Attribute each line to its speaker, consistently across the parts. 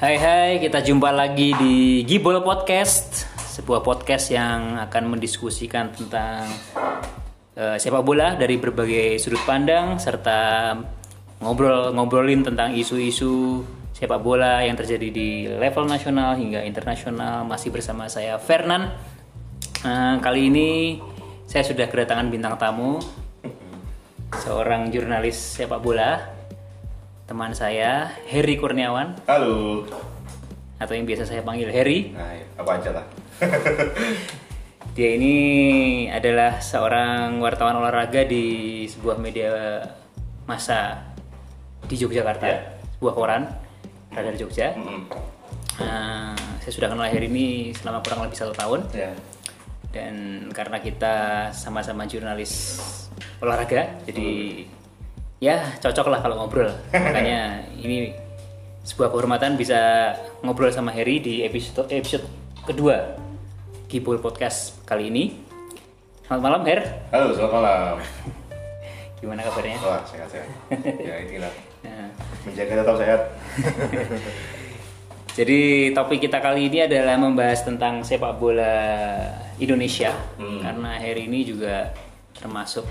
Speaker 1: Hai hai, kita jumpa lagi di Gibol Podcast, sebuah podcast yang akan mendiskusikan tentang eh, sepak bola dari berbagai sudut pandang serta ngobrol-ngobrolin tentang isu-isu sepak bola yang terjadi di level nasional hingga internasional. Masih bersama saya Fernan. Eh, kali ini saya sudah kedatangan bintang tamu seorang jurnalis sepak bola. Teman saya Heri Kurniawan
Speaker 2: Halo.
Speaker 1: atau yang biasa saya panggil Harry.
Speaker 2: Nah, ya, apa aja lah.
Speaker 1: Dia ini adalah seorang wartawan olahraga di sebuah media massa di Yogyakarta,
Speaker 2: Ya.
Speaker 1: sebuah koran radar Jogja.
Speaker 2: Mm-mm.
Speaker 1: Nah, saya sudah kenal Harry ini selama kurang lebih satu tahun
Speaker 2: Ya.
Speaker 1: dan karena kita sama-sama jurnalis olahraga, jadi ya cocok lah kalau ngobrol. Makanya ini sebuah kehormatan bisa ngobrol sama Harry di episode episode kedua Kibul Podcast kali ini. Selamat malam Her,
Speaker 2: Halo, selamat malam.
Speaker 1: gimana kabarnya?
Speaker 2: Wah, sehat-sehat. ya, inilah.
Speaker 1: Nah,
Speaker 2: Menjaga tetap sehat.
Speaker 1: Jadi topik kita kali ini adalah membahas tentang sepak bola Indonesia karena Heri ini juga termasuk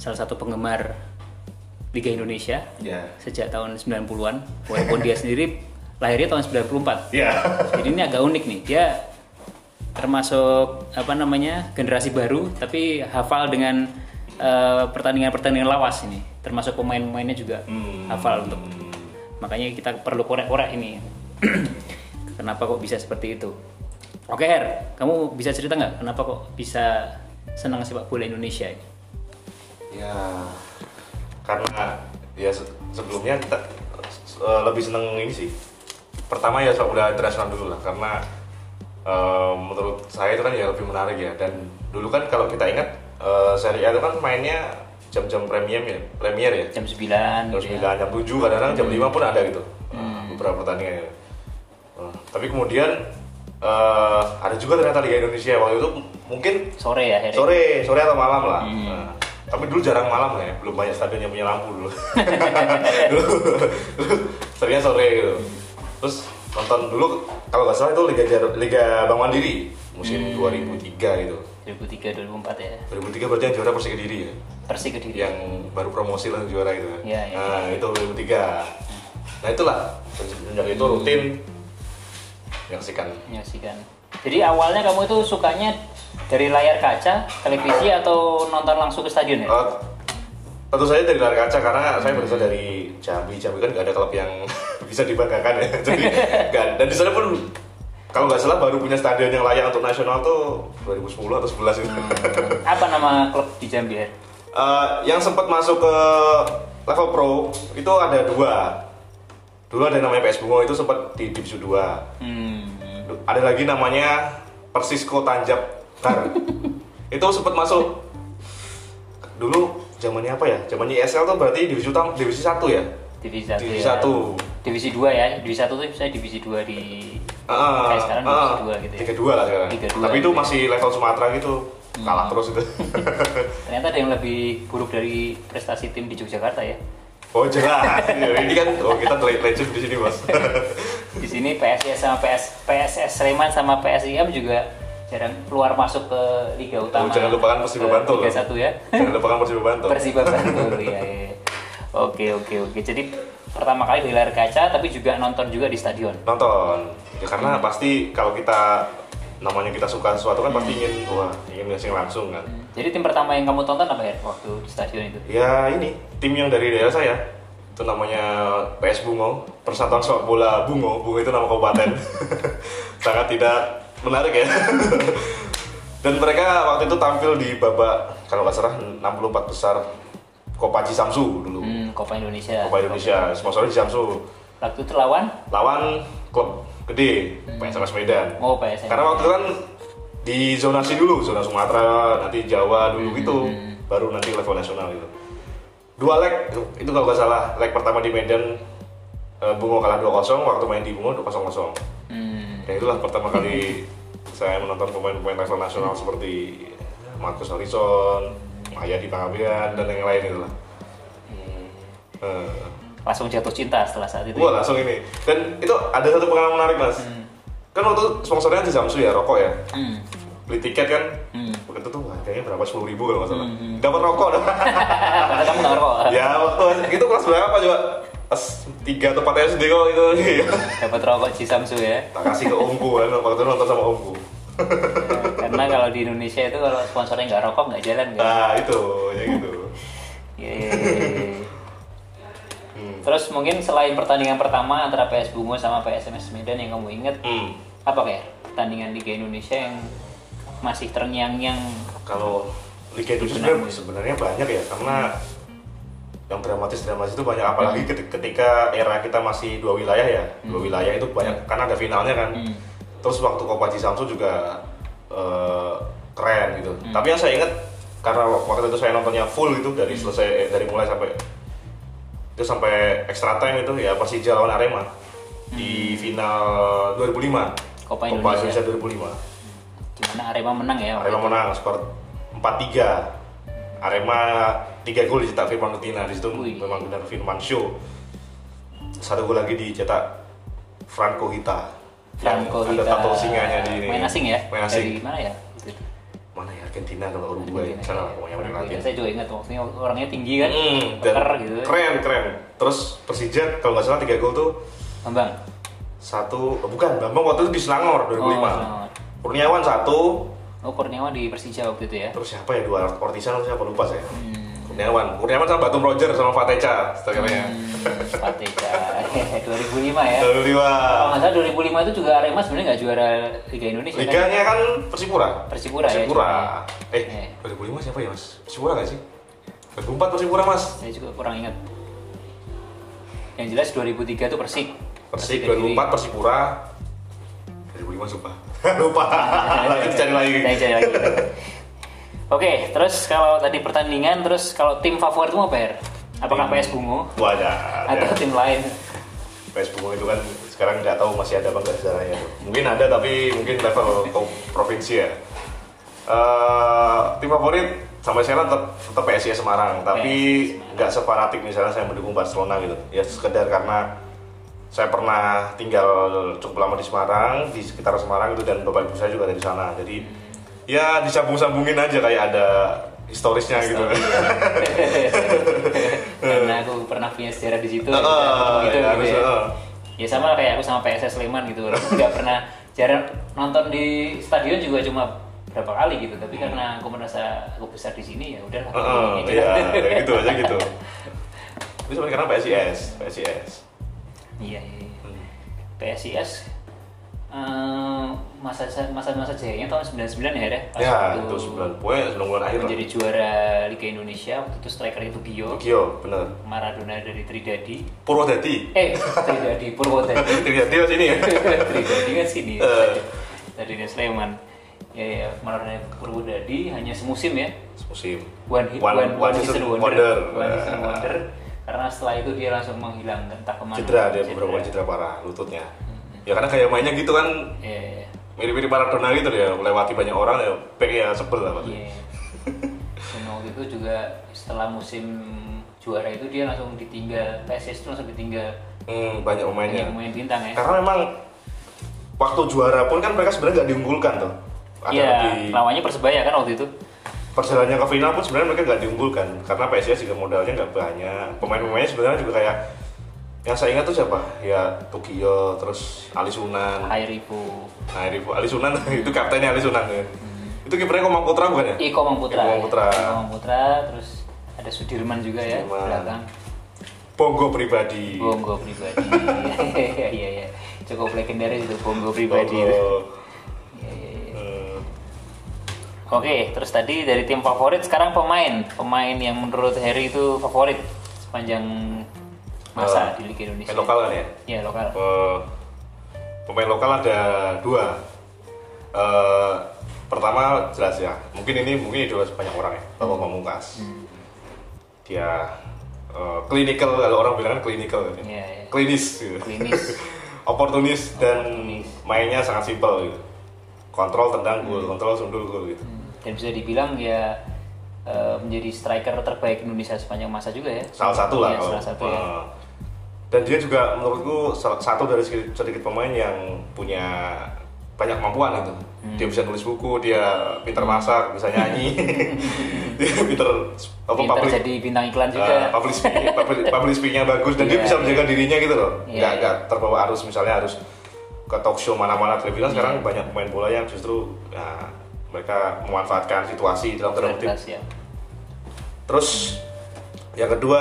Speaker 1: salah satu penggemar Liga Indonesia
Speaker 2: ya.
Speaker 1: sejak tahun 90-an walaupun dia sendiri lahirnya tahun 94.
Speaker 2: Ya.
Speaker 1: Jadi ini agak unik nih. Dia termasuk apa namanya? generasi baru tapi hafal dengan eh, pertandingan-pertandingan lawas ini. Termasuk pemain-pemainnya juga
Speaker 2: Hmm.
Speaker 1: hafal untuk
Speaker 2: Hmm.
Speaker 1: Makanya kita perlu korek-korek ini. kenapa kok bisa seperti itu? Oke Her, kamu bisa cerita nggak kenapa kok bisa senang sepak bola Indonesia? ini?
Speaker 2: Ya. Karena ya se- sebelumnya kita s- eh, lebih seneng ini sih. Pertama ya sepak bola internasional dulu lah karena eh, menurut saya itu kan ya lebih menarik ya dan dulu kan kalau kita ingat eh, Serie A itu kan mainnya jam-jam premium ya, premier ya.
Speaker 1: Jam 9,
Speaker 2: jam
Speaker 1: gitu ya.
Speaker 2: 9, jam 7, kadang-kadang jam 5 pun ada gitu Eh, beberapa pertandingan ya. Eh, tapi kemudian eh, ada juga ternyata Liga Indonesia waktu itu m- mungkin
Speaker 1: sore ya Her.
Speaker 2: sore sore atau malam lah
Speaker 1: Hmm.
Speaker 2: Eh, tapi dulu jarang malam lah ya belum banyak stadion yang punya lampu dulu dulu dulu seringnya sore gitu terus nonton dulu kalau nggak salah itu Liga Jar- Liga Bank Mandiri musim 2003 gitu
Speaker 1: 2003 2004 ya.
Speaker 2: 2003 berarti yang juara Persik Kediri ya
Speaker 1: Persik Kediri.
Speaker 2: yang baru promosi langsung juara itu kan.
Speaker 1: Iya, iya.
Speaker 2: Nah, itu 2003. Nah, itulah sejak itu rutin menyaksikan.
Speaker 1: Menyaksikan. Jadi awalnya kamu itu sukanya dari layar kaca, televisi atau nonton langsung ke stadion ya?
Speaker 2: Eh, tentu saya dari luar kaca karena saya berasal dari Jambi. Jambi kan nggak ada klub yang bisa dibanggakan ya. Jadi nggak- dan di sana pun kalau nggak salah baru punya stadion yang layak untuk nasional tuh 2010 atau 11 itu.
Speaker 1: Hmm. Apa nama klub di Jambi ya? Her?
Speaker 2: Eh, yang sempat masuk ke level pro itu ada dua. Dulu ada yang namanya PS Bungo itu sempat di divisi 2.
Speaker 1: Hmm.
Speaker 2: ada lagi namanya Persisko Tanjab Bar. itu sempat masuk dulu zamannya apa ya? Zamannya ESL tuh berarti divisi utama divisi 1 ya?
Speaker 1: Divisi 1.
Speaker 2: Divisi satu.
Speaker 1: Divisi 2 ya. Divisi 1 tuh saya divisi 2 di
Speaker 2: Ah,
Speaker 1: Kayak sekarang
Speaker 2: ah,
Speaker 1: divisi dua gitu ya.
Speaker 2: Tiga dua lah sekarang.
Speaker 1: Tiga dua
Speaker 2: Tapi itu
Speaker 1: gitu ya. Hmm.
Speaker 2: masih level Sumatera gitu. Kalah terus itu.
Speaker 1: Ternyata ada yang lebih buruk dari prestasi tim di Yogyakarta ya.
Speaker 2: oh jelas. Ini kan oh, kita late legend di sini mas.
Speaker 1: Di sini PSIS sama PS PSS Sleman sama PSIM juga jarang keluar masuk ke Liga Utama.
Speaker 2: Oh, jangan lupakan Persiba
Speaker 1: Ke
Speaker 2: Bantul. kan?
Speaker 1: Liga 1 ya.
Speaker 2: Jangan lupakan Persiba Bantul.
Speaker 1: Persiba Bantul ya, ya. Oke, oke, oke. Jadi pertama kali di layar kaca tapi juga nonton juga di stadion.
Speaker 2: nonton ya, karena pasti kalau kita namanya kita suka sesuatu kan pasti ingin wah ingin ngasih langsung kan
Speaker 1: Jadi tim pertama yang kamu tonton apa ya waktu di stadion itu?
Speaker 2: ya ini tim yang dari daerah saya itu namanya PS Bungo Persatuan Sepak Bola Bungo Bungo itu nama kabupaten sangat tidak menarik ya dan mereka waktu itu tampil di babak kalau nggak salah 64 besar Kopaji Samsu dulu
Speaker 1: Hmm, Copa Indonesia.
Speaker 2: Kopa Indonesia sponsornya di Samsu
Speaker 1: Waktu itu lawan
Speaker 2: lawan klub gede PSMS Medan
Speaker 1: Oh, PSM.
Speaker 2: karena waktu itu kan di zonasi dulu zona Sumatera nanti Jawa dulu gitu baru nanti level nasional gitu dua leg itu- itu kalau nggak salah leg pertama di Medan eh, Bungo kalah 2-0 waktu main di Bungo 2-0
Speaker 1: Hmm,
Speaker 2: dan itulah pertama kali saya menonton pemain-pemain level nasional seperti Marcus Horizon Maya di Pangabean dan yang lain itu lah Eh,
Speaker 1: langsung jatuh cinta setelah saat itu.
Speaker 2: Wah langsung ini. Dan itu ada satu pengalaman menarik mas. Kan waktu itu sponsornya di Samsu ya rokok ya.
Speaker 1: Hmm.
Speaker 2: Beli tiket kan.
Speaker 1: Hmm.
Speaker 2: Waktu itu tuh harganya berapa sepuluh ribu kalau nggak salah. Dapat rokok. dah.
Speaker 1: Karena kamu nggak ngerokok.
Speaker 2: ya waktu itu kelas berapa coba? Kelas tiga atau empat SD kalau itu.
Speaker 1: Dapat rokok Cisamsu ya.
Speaker 2: tak kasih ke omku kan. Waktu itu nonton sama omku.
Speaker 1: Karena kalau di Indonesia itu kalau sponsornya nggak rokok nggak jalan kan.
Speaker 2: Nah itu ya gitu.
Speaker 1: Iya, iya, iya, iya, iya. Terus mungkin selain pertandingan pertama antara PS Bungo sama PSMS Medan yang kamu ingat
Speaker 2: Hmm.
Speaker 1: apa kayak pertandingan Liga Indonesia yang masih terngiang-ngiang
Speaker 2: Kalau Liga itu sebenarnya sebenarnya banyak ya karena yang dramatis dramatis itu banyak apalagi
Speaker 1: Hmm.
Speaker 2: keti- ketika era kita masih dua wilayah ya dua wilayah itu
Speaker 1: Ya.
Speaker 2: banyak karena ada finalnya kan
Speaker 1: Hmm.
Speaker 2: terus waktu Copa Cisamsu juga eh, keren gitu
Speaker 1: Hmm.
Speaker 2: tapi yang saya ingat karena wak- waktu itu saya nontonnya full gitu dari
Speaker 1: Hmm.
Speaker 2: selesai eh, dari mulai sampai itu sampai extra time itu ya Persija lawan Arema di final 2005
Speaker 1: Hmm. Copa Indonesia.
Speaker 2: Indonesia 2005
Speaker 1: gimana Arema menang ya waktu
Speaker 2: Arema
Speaker 1: itu?
Speaker 2: menang skor 4-3. Arema 3 gol dicetak Firman Utina di situ
Speaker 1: Wih.
Speaker 2: memang benar Firman Show. Satu gol lagi dicetak Franco Hita.
Speaker 1: Franco
Speaker 2: Yang ada
Speaker 1: Hita
Speaker 2: tato singanya di ini.
Speaker 1: main asing ya
Speaker 2: Main asing.
Speaker 1: dari mana ya Waktu itu.
Speaker 2: Mana ya Argentina kalau Uruguay sana lah pokoknya main
Speaker 1: Iya,
Speaker 2: Latin.
Speaker 1: saya juga ingat waktunya orangnya tinggi kan
Speaker 2: Hmm, dan
Speaker 1: peker gitu
Speaker 2: keren keren. Terus Persija kalau nggak salah 3 gol tuh
Speaker 1: Bambang
Speaker 2: satu oh, bukan Bambang waktu itu di Selangor 2005.
Speaker 1: Oh, Selangor.
Speaker 2: Kurniawan satu,
Speaker 1: oh Kurniawan di Persija waktu itu ya
Speaker 2: terus siapa ya dua Ortisan atau siapa lupa saya. Kurniawan, Kurniawan sama Batum Roger sama Fateca ya. setelahnya.
Speaker 1: Hmm, Pateca 2005 ya
Speaker 2: Lalu lima.
Speaker 1: kalau nggak salah 2005 itu juga Arema sebenarnya nggak juara Liga Indonesia kan?
Speaker 2: Liganya kan Persipura.
Speaker 1: Persipura ya,
Speaker 2: Eh,
Speaker 1: Iya.
Speaker 2: 2005 siapa ya mas? Persipura nggak sih? 2004 Persipura mas.
Speaker 1: saya juga kurang ingat yang jelas 2003 itu Persik
Speaker 2: Persik
Speaker 1: Kediri.
Speaker 2: 2004 Persipura. 2005 sumpah. Lupa. Lanjut cari lagi.
Speaker 1: Cari- cari lagi. Oke, terus kalau tadi pertandingan, terus kalau tim favoritmu apa ya? Apakah
Speaker 2: Tim-
Speaker 1: PS Bungo
Speaker 2: Wadah.
Speaker 1: atau tim lain?
Speaker 2: PS Bungo itu kan sekarang nggak tahu masih ada apa nggak sejarahnya. Mungkin ada tapi mungkin level ko- provinsi ya. Eh, tim favorit kan sampai sekarang tetap, tetap PSIS Semarang, tapi nggak separatik misalnya saya mendukung Barcelona gitu. Ya sekedar karena saya pernah tinggal cukup lama di Semarang, di sekitar Semarang itu dan bapak ibu saya juga dari sana. Jadi ya disambung-sambungin aja kayak ada historisnya gitu.
Speaker 1: Karena aku pernah punya sejarah di situ.
Speaker 2: Ah,
Speaker 1: ya, ketemu gitu,
Speaker 2: ya,
Speaker 1: gitu
Speaker 2: harus,
Speaker 1: ya.
Speaker 2: ah.
Speaker 1: Ya sama kayak aku sama PSS Sleman gitu, nggak pernah jarang nonton di stadion juga cuma berapa kali gitu. Tapi karena aku merasa aku besar di sini ya udahlah.
Speaker 2: Hmm. Heeh,
Speaker 1: ini aja.
Speaker 2: iya, kayak gitu aja gitu. Itu sebenarnya karena PSIS, PSIS.
Speaker 1: Iya, iya. iya.
Speaker 2: Hmm.
Speaker 1: PSIS eh, masa masa masa jayanya tahun 99 ya, Reh? Pas
Speaker 2: Ya,
Speaker 1: waktu
Speaker 2: itu sembilan poin, sembilan bulan akhir. lah.
Speaker 1: menjadi juara Liga Indonesia waktu itu striker itu Gio,
Speaker 2: Tokyo, iya, bener.
Speaker 1: Maradona dari Tridadi.
Speaker 2: Purwodadi.
Speaker 1: Eh, Tridadi Purwodadi.
Speaker 2: Tridadi mas ini ya.
Speaker 1: Tridadi kan sini.
Speaker 2: Eh.
Speaker 1: Tadi dia Sleman. Ya, ya, Maradona Purwodadi hanya semusim ya.
Speaker 2: Musim.
Speaker 1: One, hit, one, one, season, wonder. One season
Speaker 2: Nah,
Speaker 1: wonder. Karena setelah itu dia langsung menghilang entah kemana.
Speaker 2: Cedera dia beberapa kali cedera parah lututnya.
Speaker 1: Hmm.
Speaker 2: Ya karena kayak mainnya gitu kan
Speaker 1: Iya, iya.
Speaker 2: mirip-mirip Maradona gitu ya, melewati banyak orang ya, pek ya sebel lah. Mas.
Speaker 1: Iya. Dan waktu itu juga setelah musim juara itu dia langsung ditinggal PSS itu langsung ditinggal
Speaker 2: Hmm, banyak pemainnya.
Speaker 1: hanya pemain bintang ya.
Speaker 2: Karena memang waktu juara pun kan mereka sebenarnya nggak diunggulkan tuh. Ada
Speaker 1: Iya,
Speaker 2: di-
Speaker 1: lawannya persebaya kan waktu itu.
Speaker 2: perjalanannya ke final pun sebenarnya mereka nggak diunggulkan karena PSIS juga modalnya nggak banyak pemain-pemainnya sebenarnya juga kayak yang saya ingat tuh siapa ya Tokyo terus Ali Sunan
Speaker 1: Hairibu,
Speaker 2: nah ini Ali Sunan itu kaptennya Ali Sunan ya itu kipernya Komang Putra bukan ya
Speaker 1: Iko Mangputra.
Speaker 2: Iko Mangputra.
Speaker 1: Iko Mangputra, terus ada Sudirman juga ya
Speaker 2: Sudirman.
Speaker 1: belakang.
Speaker 2: Bongo pribadi
Speaker 1: Bongo pribadi. Iya iya iya. Cukup legendaris itu Bongo pribadi. itu. Iya iya iya.
Speaker 2: Eh,
Speaker 1: Oke, terus tadi dari tim favorit sekarang pemain, pemain yang menurut Harry itu favorit sepanjang masa di
Speaker 2: Eh,
Speaker 1: Liga Indonesia.
Speaker 2: pemain lokal kan ya
Speaker 1: Iya lokal.
Speaker 2: Eh, pemain lokal ada dua Eh, pertama jelas ya mungkin ini mungkin juga banyak orang ya Bapak
Speaker 1: Hmm.
Speaker 2: Pamungkas dia klinikal kalau orang bilang kan klinikal kan ya.
Speaker 1: Iya, iya.
Speaker 2: klinis gitu.
Speaker 1: Klinis.
Speaker 2: oportunis dan mainnya sangat simpel gitu kontrol tendang gol
Speaker 1: Hmm.
Speaker 2: kontrol sundul gol gitu
Speaker 1: Dan bisa dibilang ya eh, menjadi striker terbaik Indonesia sepanjang masa juga ya.
Speaker 2: salah satu lah
Speaker 1: Iya,
Speaker 2: kalau
Speaker 1: salah satu ya.
Speaker 2: eh, dan dia juga menurutku salah satu dari sedikit, sedikit pemain yang punya banyak kemampuan itu
Speaker 1: Hmm.
Speaker 2: dia bisa nulis buku dia pintar masak bisa nyanyi dia pintar apa
Speaker 1: Pinter
Speaker 2: public
Speaker 1: jadi bintang iklan juga.
Speaker 2: eh, public speaking public, public speakingnya bagus dan
Speaker 1: Iya,
Speaker 2: dia bisa
Speaker 1: iya.
Speaker 2: menjaga dirinya gitu loh
Speaker 1: Iya,
Speaker 2: nggak
Speaker 1: iya.
Speaker 2: nggak terbawa arus misalnya harus ke talk show mana-mana
Speaker 1: Iya.
Speaker 2: television sekarang banyak pemain bola yang justru ya, mereka memanfaatkan situasi dalam tanda kutip
Speaker 1: Kreativitas, ya.
Speaker 2: Terus yang kedua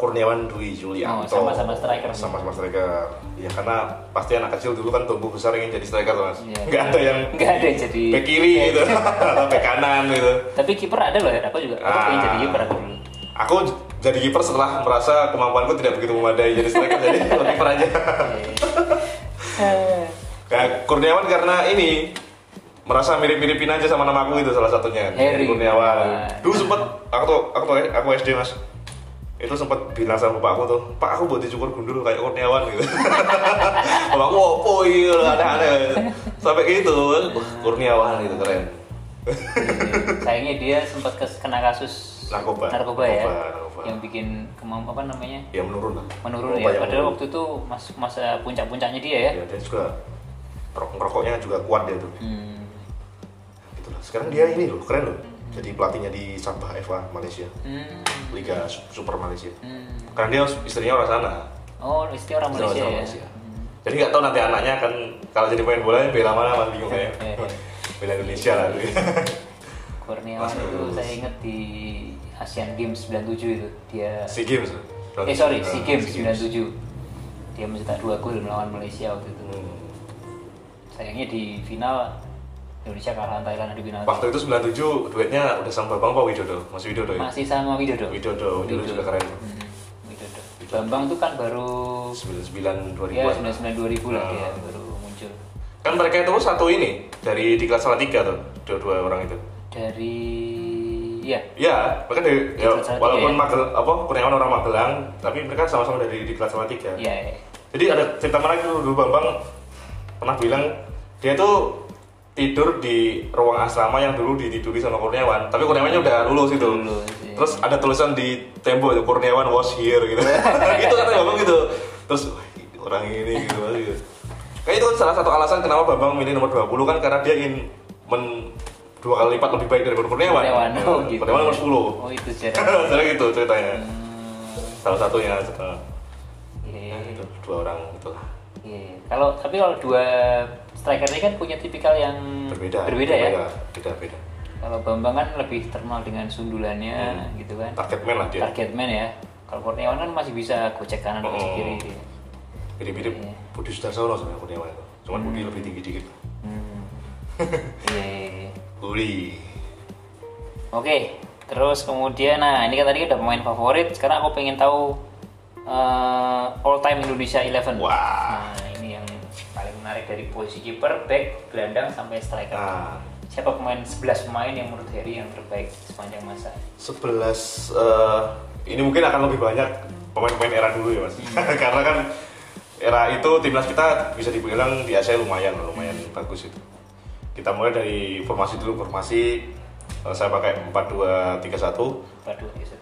Speaker 2: Kurniawan Dwi Julianto.
Speaker 1: Oh, sama-sama striker.
Speaker 2: Sama-sama striker. Ya karena pasti anak kecil dulu kan tumbuh besar ingin jadi striker mas.
Speaker 1: Iya.
Speaker 2: Nggak ada yang
Speaker 1: Nggak ada yang jadi-
Speaker 2: back kiri gitu atau back kanan gitu.
Speaker 1: Tapi kiper ada loh, Her. aku juga. Aku pengen
Speaker 2: Ah.
Speaker 1: jadi kiper aku dulu.
Speaker 2: Aku j- jadi kiper setelah merasa kemampuanku tidak begitu memadai jadi striker jadi kiper aja.
Speaker 1: Eh,
Speaker 2: Nah, Kurniawan karena ini merasa mirip-miripin aja sama nama aku itu salah satunya.
Speaker 1: Heri
Speaker 2: Kurniawan.
Speaker 1: Kurniawan.
Speaker 2: Dulu sempet aku tuh aku tuh aku SD mas itu sempet bilang sama bapak aku tuh pak aku buat dicukur gundul kayak Kurniawan gitu bapak aku opo iya ada ada sampai gitu Wah, Kurniawan gitu keren
Speaker 1: Sayangnya dia sempat kes- kena kasus
Speaker 2: Narkoba.
Speaker 1: narkoba ya,
Speaker 2: Narkoba, narkoba.
Speaker 1: yang bikin kemampuan apa namanya
Speaker 2: ya menurun lah
Speaker 1: menurun ya.
Speaker 2: Lupa yang
Speaker 1: Padahal
Speaker 2: menurun.
Speaker 1: waktu itu mas masa puncak-puncaknya dia ya.
Speaker 2: ya dia juga rok- rokoknya juga kuat dia tuh
Speaker 1: Hmm.
Speaker 2: gitu lah. sekarang dia ini loh keren loh jadi pelatihnya di Sabah F1 Malaysia
Speaker 1: Hmm.
Speaker 2: Liga Su- Super Malaysia
Speaker 1: Hmm.
Speaker 2: karena dia istrinya orang sana
Speaker 1: Oh, istri orang
Speaker 2: Istrinya
Speaker 1: Malaysia
Speaker 2: orang
Speaker 1: ya.
Speaker 2: Malaysia. jadi nggak tahu nanti anaknya kan kalau jadi pemain bola bela mana kan bingung ya
Speaker 1: Iya, iya.
Speaker 2: bela Indonesia lah dulu.
Speaker 1: Kurniawan
Speaker 2: Mas
Speaker 1: itu
Speaker 2: Bagus.
Speaker 1: saya inget di Asian Games 97 itu dia
Speaker 2: Sea Games
Speaker 1: Eh sorry, SEA Games 97 Dia mencetak dua gol melawan Malaysia waktu itu
Speaker 2: Hmm.
Speaker 1: Sayangnya di final Indonesia kalah lawan Thailand di final
Speaker 2: waktu itu 97 duetnya udah sama Bambang Pak Widodo Mas Widodo ya
Speaker 1: Masih sama Widodo
Speaker 2: Widodo Widodo juga keren
Speaker 1: Hmm, Widodo Bambang tuh kan baru
Speaker 2: 99
Speaker 1: Ya 99
Speaker 2: 2000
Speaker 1: 2000 lah dia
Speaker 2: Hmm.
Speaker 1: baru muncul
Speaker 2: kan mereka itu satu ini dari di kelas salah tiga tuh dua-dua orang itu
Speaker 1: Dari Ya
Speaker 2: Ya, mereka dari
Speaker 1: Di
Speaker 2: ya,
Speaker 1: kelas salah
Speaker 2: walaupun
Speaker 1: tiga ya?
Speaker 2: Magel, apa Kurniawan orang Magelang, tapi mereka sama-sama dari di kelas sama tiga.
Speaker 1: Ya ya.
Speaker 2: Jadi ada cerita menarik dulu, dulu Bambang pernah bilang dia tuh tidur di ruang asrama yang dulu ditiduri sama Kurniawan, tapi Kurniawannya udah lulus itu.
Speaker 1: Lulus, iya.
Speaker 2: Terus ada tulisan di tembok itu Kurniawan was here gitu. gitu katanya Bambang gitu. Terus "Wah, orang ini gitu. gitu. Kayak itu kan salah satu alasan kenapa Bambang milih nomor 20 kan karena dia ingin men dua kali lipat lebih baik daripada Kurniawan.
Speaker 1: Kurniawan oh, gitu.
Speaker 2: Kurniawan nomor 10.
Speaker 1: Oh itu sejarah
Speaker 2: Sebenarnya gitu ceritanya.
Speaker 1: Hmm,
Speaker 2: Salah satunya setelah
Speaker 1: iya, iya,
Speaker 2: ya,
Speaker 1: iya.
Speaker 2: itu dua orang itu lah.
Speaker 1: Iya, kalau tapi kalau dua striker ini kan punya tipikal yang
Speaker 2: Berbeda.
Speaker 1: ya.
Speaker 2: Beda beda.
Speaker 1: Kalau Bambang kan lebih terkenal dengan sundulannya
Speaker 2: Hmm.
Speaker 1: gitu kan.
Speaker 2: Target man lah dia.
Speaker 1: Target man ya. Kalau Kurniawan kan masih bisa gocek kanan gocek
Speaker 2: Oh.
Speaker 1: kiri.
Speaker 2: Mirip mirip
Speaker 1: Iya.
Speaker 2: Budi Sudarsono sebenarnya Kurniawan itu. Cuman Budi lebih tinggi dikit.
Speaker 1: Hmm. Iya, iya, iya.
Speaker 2: Budi.
Speaker 1: Oke, terus kemudian nah ini kan tadi udah pemain favorit. Sekarang aku pengen tahu eh, all time Indonesia 11.
Speaker 2: Wah.
Speaker 1: Nah, ini yang paling menarik dari posisi kiper, back, gelandang sampai striker.
Speaker 2: Nah,
Speaker 1: Siapa pemain 11 pemain yang menurut Heri yang terbaik sepanjang masa?
Speaker 2: 11 eh, ini mungkin akan lebih banyak pemain-pemain era dulu ya mas
Speaker 1: Hmm.
Speaker 2: karena kan era itu timnas kita bisa dibilang di Asia lumayan lumayan
Speaker 1: Hmm.
Speaker 2: bagus itu kita mulai dari formasi dulu formasi eh, saya pakai 4-2-3-1
Speaker 1: Waduh, ya satu.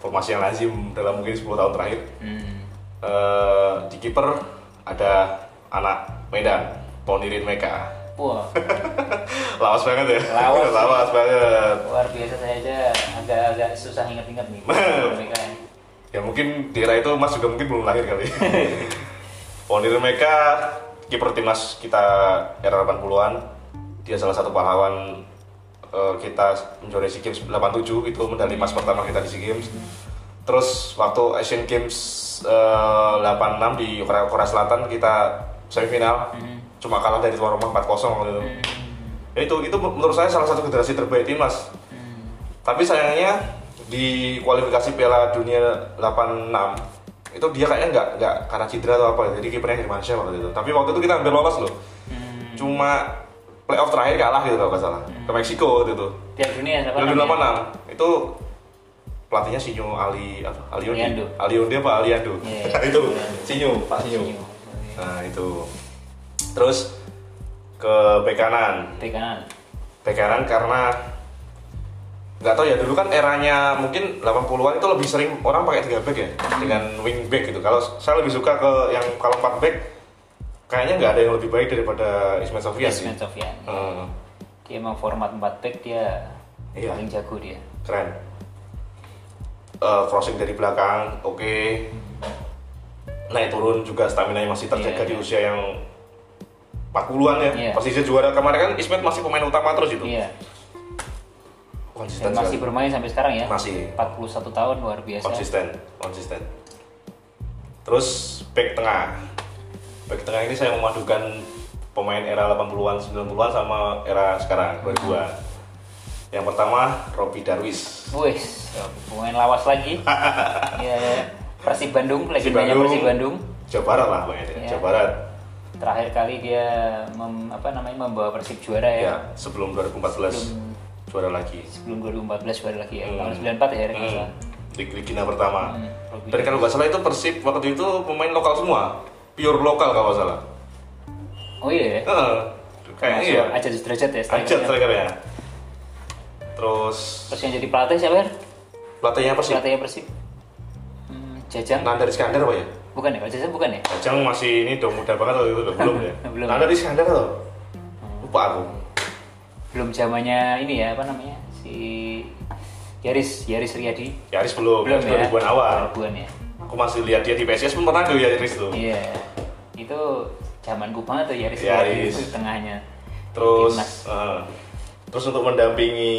Speaker 2: formasi yang lazim dalam mungkin 10 tahun terakhir
Speaker 1: Hmm.
Speaker 2: Eh, di kiper ada anak Medan Ponirin Meka
Speaker 1: Wah,
Speaker 2: lawas banget ya
Speaker 1: Lawas.
Speaker 2: lawas banget
Speaker 1: luar biasa saya aja agak-agak susah inget-inget nih. Pernikahan.
Speaker 2: Ya mungkin di era itu Mas juga mungkin belum lahir kali. Ponir Meka, kiper timnas kita era 80-an. Dia salah satu pahlawan eh, kita menjuarai SEA Games 87 itu medali emas pertama kita di SEA Games. Terus waktu Asian Games eh, 86 di Korea, Korea Selatan kita semifinal cuma kalah dari tuan rumah 4-0 waktu itu. Ya itu itu menurut saya salah satu generasi terbaik timnas. Tapi sayangnya di kualifikasi Piala Dunia 86 itu dia kayaknya nggak nggak karena cedera atau apa ya. jadi kipernya Hermansyah waktu itu. Tapi waktu itu kita hampir lolos loh. Cuma playoff terakhir kalah gitu kalau nggak salah ke Meksiko waktu itu.
Speaker 1: Piala dunia ya, siapa
Speaker 2: Piala Dunia
Speaker 1: namanya?
Speaker 2: 86 itu pelatihnya Sinyo Ali apa Aliondi.
Speaker 1: Aliando.
Speaker 2: Aliondi apa Aliando?
Speaker 1: Iya, iya.
Speaker 2: itu Sinyo, Pak Sinyo.
Speaker 1: Sinyo.
Speaker 2: Nah, itu. Terus ke bek kanan.
Speaker 1: kan? Bek kanan.
Speaker 2: Bek kanan karena nggak tahu ya dulu kan eranya mungkin 80-an itu lebih sering orang pakai tiga back ya dengan wing back gitu. Kalau saya lebih suka ke yang kalau empat back kayaknya nggak ada yang lebih baik daripada Ismail Sofyan Iya sih.
Speaker 1: Ismail Sofyan.
Speaker 2: Hmm,
Speaker 1: ya. Dia emang format 4 back dia
Speaker 2: Iya.
Speaker 1: paling jago dia.
Speaker 2: keren. Eh, crossing dari belakang, oke. Naik turun juga stamina masih terjaga
Speaker 1: Iya,
Speaker 2: di
Speaker 1: iya.
Speaker 2: usia yang 40-an ya.
Speaker 1: Iya.
Speaker 2: Pasti dia juara kemarin kan Ismail masih pemain utama terus itu.
Speaker 1: Iya.
Speaker 2: Konsisten
Speaker 1: Dan masih
Speaker 2: sekali.
Speaker 1: bermain sampai sekarang ya.
Speaker 2: Masih.
Speaker 1: 41 tahun luar biasa.
Speaker 2: konsisten konsisten terus back tengah back tengah ini saya memadukan pemain era 80-an 90-an sama era
Speaker 1: Hmm.
Speaker 2: sekarang 2000-an yang pertama Robby Darwis
Speaker 1: Wes, pemain lawas lagi. Iya, iya. Persib Bandung, legendanya Persib Bandung.
Speaker 2: Jawa Barat lah mainnya
Speaker 1: Iya.
Speaker 2: Jawa Barat
Speaker 1: Terakhir kali dia mem- apa namanya membawa Persib juara ya.
Speaker 2: ya sebelum 2014 juara lagi
Speaker 1: Sebelum 2014 juara lagi ya.
Speaker 2: Hmm.
Speaker 1: Tahun 94 ya,
Speaker 2: Hmm,
Speaker 1: hmm.
Speaker 2: di Ligina pertama
Speaker 1: Hmm, Robby
Speaker 2: dan kalau nggak salah itu Persib waktu itu pemain lokal semua pure lokal kalau nggak salah Hmm.
Speaker 1: Oh iya ya.
Speaker 2: Heeh. kayaknya
Speaker 1: Masuk
Speaker 2: ya
Speaker 1: Aja Sudrajat ya.
Speaker 2: Ajat
Speaker 1: strikernya.
Speaker 2: strikernya. Terus
Speaker 1: Terus yang jadi pelatih siapa ya?
Speaker 2: pelatihnya apa sih?
Speaker 1: Pelatihnya Persib. Hmm, Jajang.
Speaker 2: Nandar Iskandar apa ya?
Speaker 1: Bukan ya? Kalau Jajang bukan ya?
Speaker 2: Ajang masih ini dong muda banget waktu itu udah belum ya?
Speaker 1: Belum.
Speaker 2: Nandar Iskandar loh. Lupa aku.
Speaker 1: Belum zamannya ini ya, apa namanya? Si Yaris, Yaris Riyadi.
Speaker 2: Yaris belum,
Speaker 1: Belum
Speaker 2: Yaris
Speaker 1: ya?
Speaker 2: 2000-an awal. Hmm.
Speaker 1: 2000-an ya.
Speaker 2: Aku masih lihat dia di PSIS pun pernah tuh Yaris tuh.
Speaker 1: Iya. Itu zamanku banget tuh Yaris
Speaker 2: Yaris.
Speaker 1: Riyadi itu tengahnya.
Speaker 2: Terus
Speaker 1: Timnas.
Speaker 2: eh, terus untuk mendampingi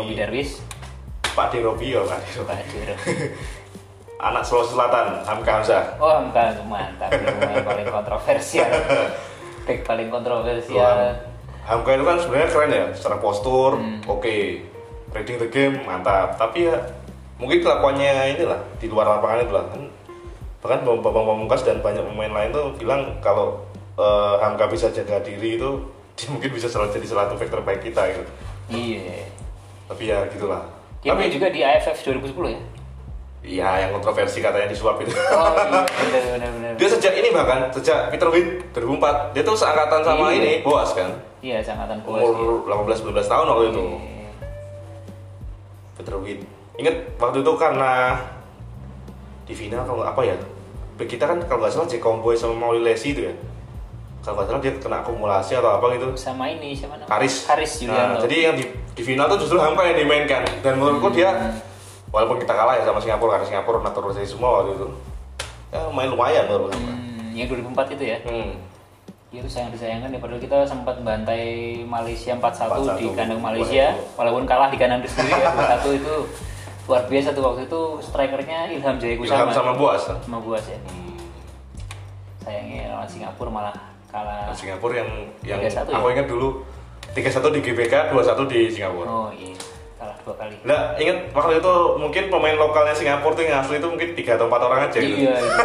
Speaker 1: Robi Darwis,
Speaker 2: Pak D Robi ya, Pak D Robi.
Speaker 1: Pak Adiro.
Speaker 2: Anak Sulawesi Selatan, Hamka Hamzah.
Speaker 1: Oh, bukan mantap, pemain paling kontroversial. Back paling kontroversial.
Speaker 2: Hamka itu kan sebenarnya keren ya, secara postur,
Speaker 1: Hmm.
Speaker 2: oke, reading the game mantap. Tapi ya mungkin kelakuannya inilah di luar lapangan itu lah. Kan, bahkan Bambang Pamungkas dan banyak pemain lain tuh bilang kalau eh, Hamka bisa jaga diri itu dia mungkin bisa selalu jadi salah satu faktor baik kita gitu.
Speaker 1: Iya.
Speaker 2: Tapi ya gitulah.
Speaker 1: Dia main
Speaker 2: Tapi
Speaker 1: juga di AFF 2010 ya?
Speaker 2: iya yang kontroversi katanya disuap itu.
Speaker 1: Oh iya, benar benar benar.
Speaker 2: dia sejak ini bahkan sejak Peter Witt 2004 dia tuh seangkatan sama
Speaker 1: Iya.
Speaker 2: ini Boas kan.
Speaker 1: Iya, sangatan kuas.
Speaker 2: Umur 18-19 tahun waktu Oh, itu.
Speaker 1: Iya.
Speaker 2: Peter Witt. Ingat waktu itu karena di final kalau apa ya? Back Kita kan kalau nggak salah Jack Comboy sama Mauli Lesi itu ya. Kalau nggak salah dia kena akumulasi atau apa gitu.
Speaker 1: sama ini siapa namanya?
Speaker 2: Haris.
Speaker 1: Haris Julianto. Hmm.
Speaker 2: Nah, jadi yang di, di final tuh justru Hamka yang dimainkan. Dan menurutku dia walaupun kita kalah ya sama Singapura karena Singapura naturalisasi semua waktu itu. Ya main lumayan menurut Hamka.
Speaker 1: Hmm, yang 2004 itu ya.
Speaker 2: Hmm.
Speaker 1: Ya itu sayang disayangkan ya padahal kita sempat bantai Malaysia 4-1 di
Speaker 2: 4-1.
Speaker 1: kandang Malaysia walaupun kalah di kandang sendiri ya 4-1 itu luar biasa tuh waktu itu strikernya Ilham Jayakusama
Speaker 2: Ilham sama Boas.
Speaker 1: sama Buas ya. Sayangnya lawan Singapura malah kalah.
Speaker 2: Nah, Singapura yang yang
Speaker 1: 3-1 ya?
Speaker 2: aku ingat dulu 3-1 di GBK, 2-1 di Singapura.
Speaker 1: Oh iya, kalah dua kali.
Speaker 2: Nah, ingat waktu itu mungkin pemain lokalnya Singapura tuh yang asli itu mungkin tiga atau empat orang aja gitu.
Speaker 1: Iya. iya.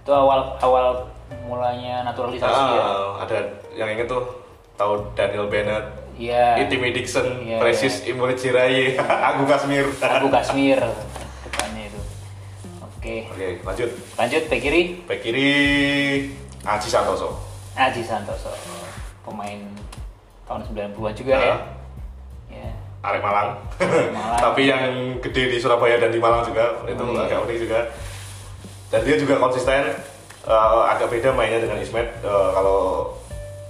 Speaker 1: itu awal awal mulanya naturalisasi ya.
Speaker 2: Ah, ada yang inget tuh tahu Daniel Bennett,
Speaker 1: Iya.
Speaker 2: Itimi Dixon,
Speaker 1: Iya,
Speaker 2: Precious Imre Jiraye, Agung Kasmir.
Speaker 1: Abu Kasmir depannya itu. Oke,
Speaker 2: Oke, lanjut.
Speaker 1: lanjut back kiri
Speaker 2: Back kiri Aji Santoso.
Speaker 1: Aji Santoso. Pemain tahun 90-an juga ya.
Speaker 2: Ah.
Speaker 1: Ya.
Speaker 2: Arek Malang.
Speaker 1: Malang.
Speaker 2: Tapi yang gede di Surabaya dan di Malang juga itu
Speaker 1: Oh, iya.
Speaker 2: agak unik juga. Dan dia juga konsisten eh, agak beda mainnya dengan Ismet Eh, kalau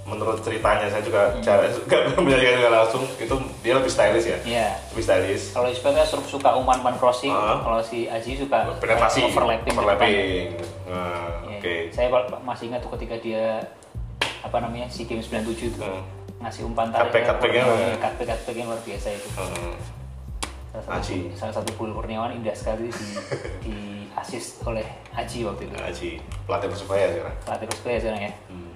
Speaker 2: menurut ceritanya saya juga
Speaker 1: Hmm.
Speaker 2: cara nggak menyajikan juga langsung itu dia lebih stylish ya.
Speaker 1: Ya.
Speaker 2: Lebih stylish.
Speaker 1: Kalau Ismail kan suka- suka umpan-umpan crossing,
Speaker 2: Ah.
Speaker 1: kalau si Aji suka
Speaker 2: Penetrasi
Speaker 1: overlapping. di depan.
Speaker 2: Overlapping. Nah,
Speaker 1: Ya.
Speaker 2: oke.
Speaker 1: Saya pal- masih ingat tuh ketika dia apa namanya? SEA Games 97 itu.
Speaker 2: Hmm.
Speaker 1: ngasih umpan tarik iya,
Speaker 2: Cutback- cutbacknya.
Speaker 1: cutback cutback yang luar biasa itu
Speaker 2: Hmm.
Speaker 1: salah satu,
Speaker 2: Aji.
Speaker 1: salah satu Bul Kurniawan indah sekali di di assist oleh Aji waktu itu
Speaker 2: Aji, pelatih persebaya sekarang.
Speaker 1: pelatih Persebaya sekarang ya
Speaker 2: Hmm.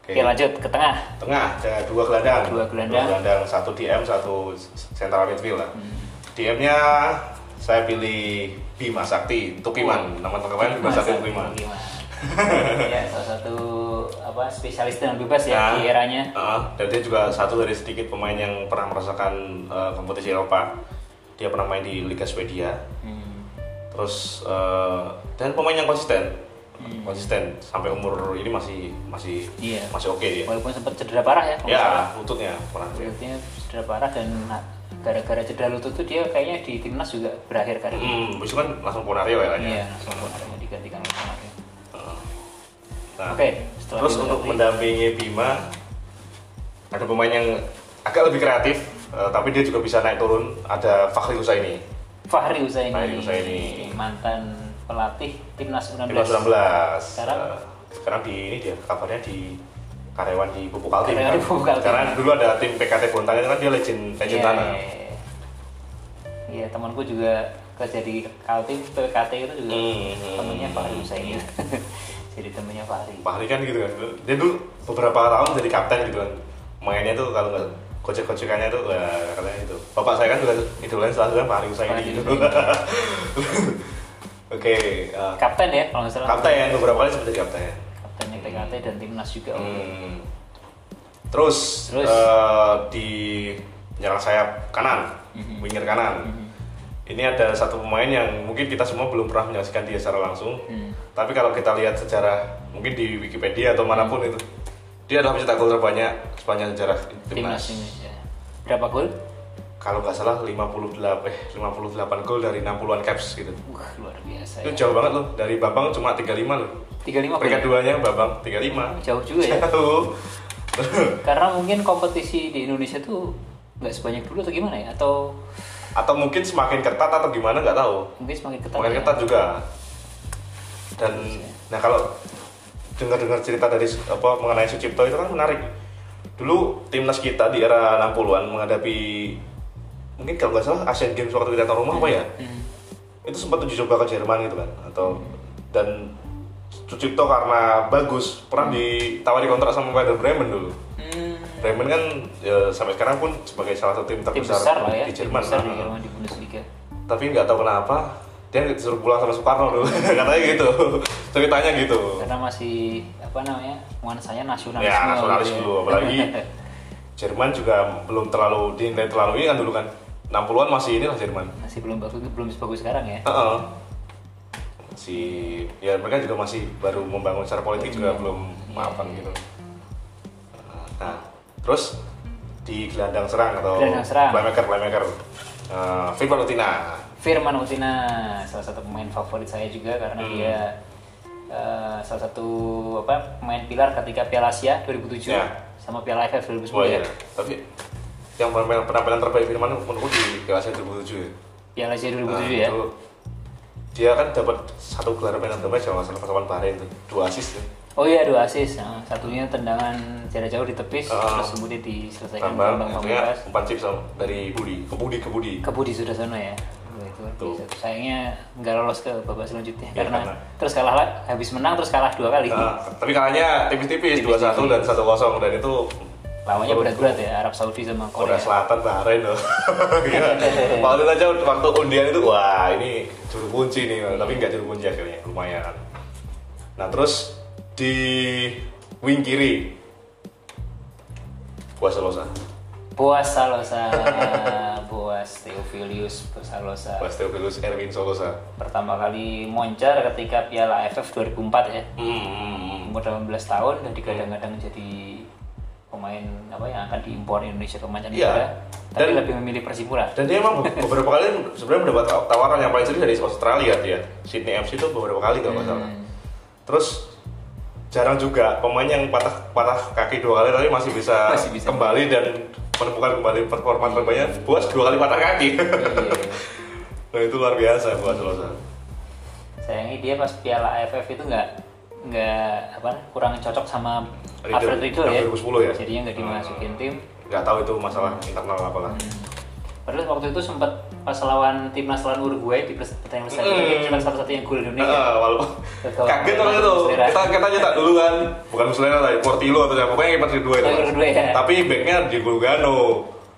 Speaker 2: Oke.
Speaker 1: Oke lanjut ke tengah.
Speaker 2: tengah ada dua gelandang
Speaker 1: Dua gelandang. Hmm.
Speaker 2: satu DM satu central midfield lah DM nya saya pilih Bima Sakti Tukiman nama teman Bima Sakti Tukiman
Speaker 1: Hmm. Bima. ya salah satu apa spesialis dan bebas ya
Speaker 2: Nah,
Speaker 1: di eranya.
Speaker 2: uh, dan dia juga satu dari sedikit pemain yang pernah merasakan uh, kompetisi Eropa dia pernah main di Liga Swedia
Speaker 1: Hmm.
Speaker 2: terus uh, dan pemain yang konsisten konsisten sampai umur ini masih masih
Speaker 1: Hmm. Iya.
Speaker 2: masih oke dia
Speaker 1: Walaupun sempat cedera parah ya. kalau nggak salah.
Speaker 2: ya lututnya pernah dia.
Speaker 1: Lututnya cedera parah dan gara-gara cedera lutut tuh dia kayaknya di timnas juga berakhir karirnya.
Speaker 2: Hmm, besok kan langsung Ponario ya kayaknya.
Speaker 1: Iya, langsung Bonario digantikan oleh Bonario.
Speaker 2: Nah,
Speaker 1: Oke, setelah
Speaker 2: Ah. terus
Speaker 1: itu
Speaker 2: untuk
Speaker 1: berarti-
Speaker 2: mendampingi Bima ada pemain yang agak lebih kreatif, eh, tapi dia juga bisa naik turun. Ada Fakhri Husaini,
Speaker 1: Fahri Usaini.
Speaker 2: Fahri Husaini.
Speaker 1: Mantan pelatih timnas U16.
Speaker 2: timnas 19.
Speaker 1: Sekarang?
Speaker 2: Eh, sekarang di ini dia kabarnya di karyawan di Pupuk Kaltim.
Speaker 1: Karyawan di
Speaker 2: kan?
Speaker 1: Pupuk Kaltim.
Speaker 2: Karena dulu ada tim PKT Bontang itu kan dia legend legend
Speaker 1: Iya,
Speaker 2: tanah.
Speaker 1: iya, iya. Iya, temanku juga kerja di Kaltim PKT itu juga
Speaker 2: Hmm, hmm,
Speaker 1: temennya Fahri
Speaker 2: hmm.
Speaker 1: Usaini. Jadi temennya Fahri.
Speaker 2: Fahri kan gitu kan. Dia dulu beberapa tahun jadi kapten gitu kan. Mainnya tuh kalau nggak kocek-kocekannya tuh ya, katanya gitu. Bapak saya kan juga idolanya selalu kan Fahri Husaini
Speaker 1: Fahri
Speaker 2: gitu.
Speaker 1: Husaini.
Speaker 2: Oke, eh,
Speaker 1: Kapten ya kalau nggak salah.
Speaker 2: kapten beberapa kali sempat jadi kapten.
Speaker 1: Kaptennya PKT dan timnas juga.
Speaker 2: Hmm. Terus,
Speaker 1: Terus?
Speaker 2: eh, di penyerang sayap kanan,
Speaker 1: Mhm.
Speaker 2: winger kanan. Ini ada satu pemain yang mungkin kita semua belum pernah menyaksikan dia secara langsung.
Speaker 1: Hmm.
Speaker 2: Tapi kalau kita lihat sejarah, mungkin di Wikipedia atau manapun
Speaker 1: Mhm.
Speaker 2: itu, dia adalah pencetak gol terbanyak sepanjang sejarah
Speaker 1: Timnas
Speaker 2: timnas.
Speaker 1: Indonesia. Berapa gol?
Speaker 2: Kalau nggak salah 58 eh 58 gol dari 60-an caps gitu.
Speaker 1: Wah, luar biasa
Speaker 2: Itu
Speaker 1: ya.
Speaker 2: jauh banget loh, dari Babang cuma 35 loh.
Speaker 1: 35
Speaker 2: Peringkat
Speaker 1: gol.
Speaker 2: duanya Babang 35.
Speaker 1: ya? Jauh juga ya.
Speaker 2: Jauh.
Speaker 1: Karena mungkin kompetisi di Indonesia tuh nggak sebanyak dulu atau gimana ya? Atau
Speaker 2: atau mungkin semakin ketat atau gimana nggak tahu
Speaker 1: mungkin semakin ketat.
Speaker 2: semakin
Speaker 1: ya?
Speaker 2: ketat juga dan nah kalau dengar-dengar cerita dari apa mengenai Sucipto itu kan menarik dulu timnas kita di era 60-an menghadapi mungkin kalau nggak salah Asian Games waktu kita tuan rumah apa ya
Speaker 1: Hmm.
Speaker 2: itu sempat uji coba ke Jerman gitu kan atau dan Sucipto karena bagus pernah ditawari kontrak sama Werder Bremen dulu
Speaker 1: Hmm.
Speaker 2: Bremen kan ya, sampai sekarang pun sebagai salah satu tim
Speaker 1: Tim
Speaker 2: terbesar
Speaker 1: besar lah ya.
Speaker 2: di
Speaker 1: Tim
Speaker 2: Jerman
Speaker 1: besar di
Speaker 2: Nah,
Speaker 1: Jerman di Bundesliga.
Speaker 2: tapi nggak tahu kenapa dia disuruh pulang sama Soekarno dulu katanya gitu ceritanya gitu
Speaker 1: Karena masih apa namanya? Nuansanya nasionalisme.
Speaker 2: ya nasionalis
Speaker 1: gitu ya.
Speaker 2: dulu apalagi Jerman juga belum terlalu dinilai terlalu ini kan dulu kan 60-an masih inilah Jerman
Speaker 1: masih belum bagus belum sebagus sekarang ya.
Speaker 2: Heeh. si ya mereka juga masih baru membangun secara politik
Speaker 1: Iya.
Speaker 2: juga belum mapan gitu nah terus di gelandang serang atau
Speaker 1: Gelandang serang.
Speaker 2: playmaker playmaker Eh, Phil Valentina
Speaker 1: Firman Utina salah satu pemain favorit saya juga karena
Speaker 2: Hmm.
Speaker 1: dia eh, salah satu apa pemain pilar ketika Piala Asia 2007
Speaker 2: Ya.
Speaker 1: sama Piala AFF 2010
Speaker 2: Wah iya,
Speaker 1: ya.
Speaker 2: tapi yang penampilan, penampilan terbaik Firman menurutku di kelas 2007 ya.
Speaker 1: Piala Asia 2007
Speaker 2: Nah,
Speaker 1: ya.
Speaker 2: itu dia kan dapat satu gelar pemain terbaik sama sama lawan Bahrain tuh, dua ya. asis tuh.
Speaker 1: Oh iya dua asis, Nah, satunya tendangan jarak jauh ditepis
Speaker 2: Ah. gitu ya.
Speaker 1: terus kemudian diselesaikan
Speaker 2: Tambah
Speaker 1: gelombang
Speaker 2: akhirnya
Speaker 1: pembebas.
Speaker 2: empat chip sama dari Budi, ke Budi, ke Budi.
Speaker 1: Kebudi sudah sono ya. Dua itu.
Speaker 2: Tuh.
Speaker 1: Sayangnya nggak lolos ke babak selanjutnya
Speaker 2: Iya,
Speaker 1: karena,
Speaker 2: karena-
Speaker 1: terus kalah la- habis menang terus kalah dua kali.
Speaker 2: Nah, tapi kalahnya tipis-tipis, 2-1 dan 1-0 dan itu
Speaker 1: Lawannya berat-berat ya Arab Saudi sama
Speaker 2: Korea
Speaker 1: Korea.
Speaker 2: Selatan, Bahrain loh. Gila. Waktu itu aja waktu undian itu wah ini juru kunci nih, tapi nggak juru kunci akhirnya lumayan. Nah terus di wing kiri Buas Losa,
Speaker 1: Boas Salosa, Boas Theophilus Salosa.
Speaker 2: Buas Teofilus Erwin Solosa.
Speaker 1: Pertama kali moncer ketika Piala AFF 2004 ya.
Speaker 2: Hmm,
Speaker 1: Umur 18 tahun dan digadang-gadang jadi pemain apa yang akan diimpor Indonesia ke mancanegara.
Speaker 2: Iya.
Speaker 1: Tapi
Speaker 2: Dan-
Speaker 1: lebih memilih Persipura.
Speaker 2: Dan dia emang be- beberapa kali sebenarnya mendapat taw- tawaran yang paling sering dari Australia dia. Sydney FC itu beberapa kali kalau nggak
Speaker 1: Hmm, iya.
Speaker 2: salah. Terus jarang juga pemain yang patah patah kaki dua kali tapi masih bisa,
Speaker 1: Masih bisa.
Speaker 2: kembali dan menemukan kembali performa terbaiknya. Buas dua kali patah kaki.
Speaker 1: Iya.
Speaker 2: nah itu luar biasa buat Losa.
Speaker 1: Sayangnya dia pas Piala AFF itu nggak nggak apa kurang cocok sama
Speaker 2: Ridho.
Speaker 1: Alfred Ridho ya.
Speaker 2: Yang 2010 ya? Ah.
Speaker 1: Jadinya nggak dimasukin tim.
Speaker 2: Nggak tahu itu masalah internal apa lah.
Speaker 1: Hmm. Padahal waktu itu sempat pas lawan timnas lawan Uruguay di pers- pertandingan
Speaker 2: Mm.
Speaker 1: mm. cuma satu-satunya gol Indonesia.
Speaker 2: Nah, walau
Speaker 1: Betul.
Speaker 2: kaget orang itu
Speaker 1: Muslera.
Speaker 2: kita kita nyetak dulu kan bukan Muslera lah Portillo atau siapa pokoknya kiper kedua itu
Speaker 1: Oh, kiper kedua ya.
Speaker 2: tapi backnya Diego Lugano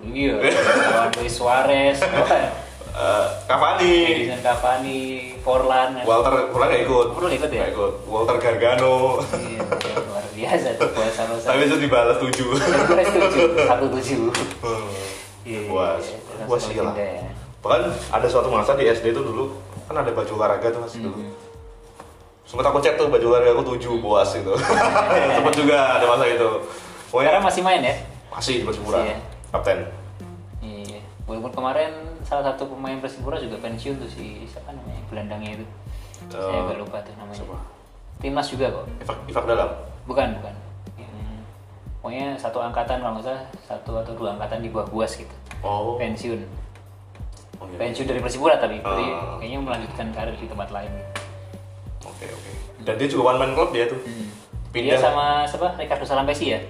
Speaker 1: Iya. lawan Luis Suarez, lawan
Speaker 2: Eh, Cavani,
Speaker 1: Edison Cavani, Forlan.
Speaker 2: Walter kurang nggak ikut.
Speaker 1: Kurang nggak ikut ya?
Speaker 2: Nggak ikut. Walter Gargano.
Speaker 1: Iya, luar biasa tuh buat sama
Speaker 2: Tapi itu dibalas tujuh.
Speaker 1: satu tujuh. Iya, iya,
Speaker 2: Puas,
Speaker 1: iya. Terus
Speaker 2: puas gila.
Speaker 1: pindah ya.
Speaker 2: Bahkan ada suatu masa di SD itu dulu kan ada baju olahraga tuh mas dulu.
Speaker 1: Mm-hmm. Hmm.
Speaker 2: Sempet aku cek tuh baju olahraga aku tujuh boas itu. Sempet juga ada masa itu. Pokoknya
Speaker 1: Sekarang masih main ya?
Speaker 2: masih di Persipura.
Speaker 1: Masih ya?
Speaker 2: Kapten.
Speaker 1: Iya. Walaupun kemarin salah satu pemain Persipura juga pensiun tuh si siapa namanya gelandangnya itu. Saya
Speaker 2: Eh,
Speaker 1: agak lupa tuh namanya.
Speaker 2: siapa?
Speaker 1: Timnas juga kok.
Speaker 2: Ifak, Ifak dalam.
Speaker 1: Bukan, bukan.
Speaker 2: Hmm.
Speaker 1: Yang- pokoknya satu angkatan kalau nggak salah satu atau dua angkatan di bawah buas gitu.
Speaker 2: Oh.
Speaker 1: Pensiun.
Speaker 2: oh, iya.
Speaker 1: Pensiun dari Persipura tapi
Speaker 2: Ah.
Speaker 1: jadi kayaknya melanjutkan karir di tempat lain.
Speaker 2: Oke oke. Dan dia juga one man club dia tuh.
Speaker 1: Dia
Speaker 2: Pindah.
Speaker 1: Iya,
Speaker 2: Iya.
Speaker 1: sama siapa? Ricardo Salampesi ya?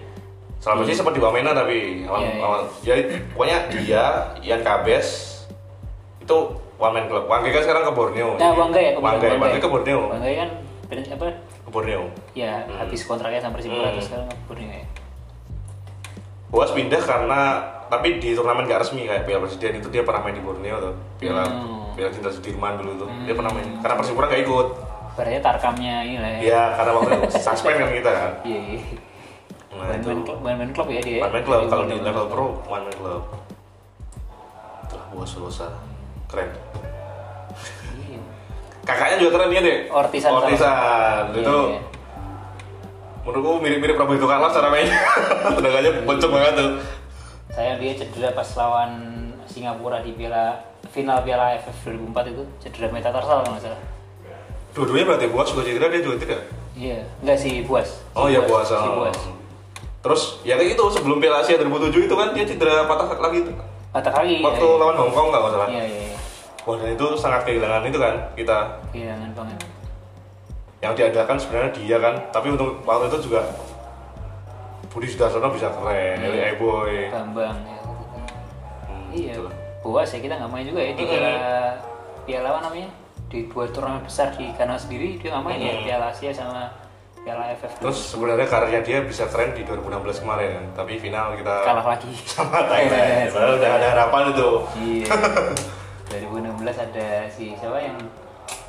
Speaker 2: Selama ini sempat di Wamena tapi lawan,
Speaker 1: Iya, iya.
Speaker 2: lawan jadi pokoknya dia Ian Kabes itu one man club. Wangge kan sekarang ke Borneo.
Speaker 1: Nah, Wangga ya kebetulan
Speaker 2: Wangga, Wangga ke Borneo.
Speaker 1: Wangga kan pen- apa?
Speaker 2: Ke Borneo.
Speaker 1: Ya
Speaker 2: Hmm.
Speaker 1: habis kontraknya sama Persipura
Speaker 2: Hmm.
Speaker 1: terus sekarang ke Borneo ya.
Speaker 2: Boas pindah karena tapi di turnamen gak resmi kayak Piala Presiden itu dia pernah main di Borneo tuh. Piala
Speaker 1: Hmm.
Speaker 2: Piala Cinta Sudirman dulu tuh. Dia pernah main. Karena Persipura gak ikut.
Speaker 1: Berarti tarkamnya ini lah ya.
Speaker 2: Ya karena waktu itu suspend kan kita kan.
Speaker 1: Iya. iya.
Speaker 2: Nah, itu.
Speaker 1: Main-main klub, main-main klub ya dia.
Speaker 2: One man club kalau di
Speaker 1: Iya.
Speaker 2: level pro one man club. Itulah Boas Solosa. Keren.
Speaker 1: Iya.
Speaker 2: kakaknya juga keren dia deh
Speaker 1: Ortisan sama-
Speaker 2: Ortisan Nah, itu
Speaker 1: Iya, iya.
Speaker 2: menurutku mirip-mirip Prabowo itu kalah cara mainnya tenaganya bencong banget tuh
Speaker 1: Saya dia cedera pas lawan Singapura di Piala final Piala AFF 2004 itu cedera metatarsal kalau nggak salah.
Speaker 2: dua-duanya berarti buas juga cedera dia juga tidak
Speaker 1: Iya, enggak si Buas. Si
Speaker 2: oh iya buas
Speaker 1: Si
Speaker 2: oh.
Speaker 1: Buas.
Speaker 2: terus ya kayak gitu sebelum Piala Asia 2007 itu kan dia cedera patah lagi tuh.
Speaker 1: Patah kaki.
Speaker 2: waktu
Speaker 1: iya,
Speaker 2: lawan Hong Kong nggak masalah
Speaker 1: Iya, iya, iya.
Speaker 2: wah dan itu sangat kehilangan itu kan kita
Speaker 1: Kehilangan banget.
Speaker 2: yang diadakan sebenarnya dia kan tapi untuk waktu itu juga Budi Sudarsono bisa keren, Eli
Speaker 1: Iya.
Speaker 2: Eboy,
Speaker 1: Bambang ya.
Speaker 2: Hmm,
Speaker 1: Iya.
Speaker 2: gitu lah.
Speaker 1: Buas ya kita nggak main juga ya di
Speaker 2: Mm-mm.
Speaker 1: Piala Piala apa namanya? Di dua turnamen besar di Kanada sendiri dia nggak main ya
Speaker 2: Mm-mm.
Speaker 1: Piala Asia sama Piala AFF.
Speaker 2: Terus sebenarnya karirnya dia bisa keren di 2016 kemarin kan, tapi final kita
Speaker 1: kalah lagi.
Speaker 2: sama Thailand. Padahal udah ada harapan itu.
Speaker 1: Iya. 2016 ada si siapa yang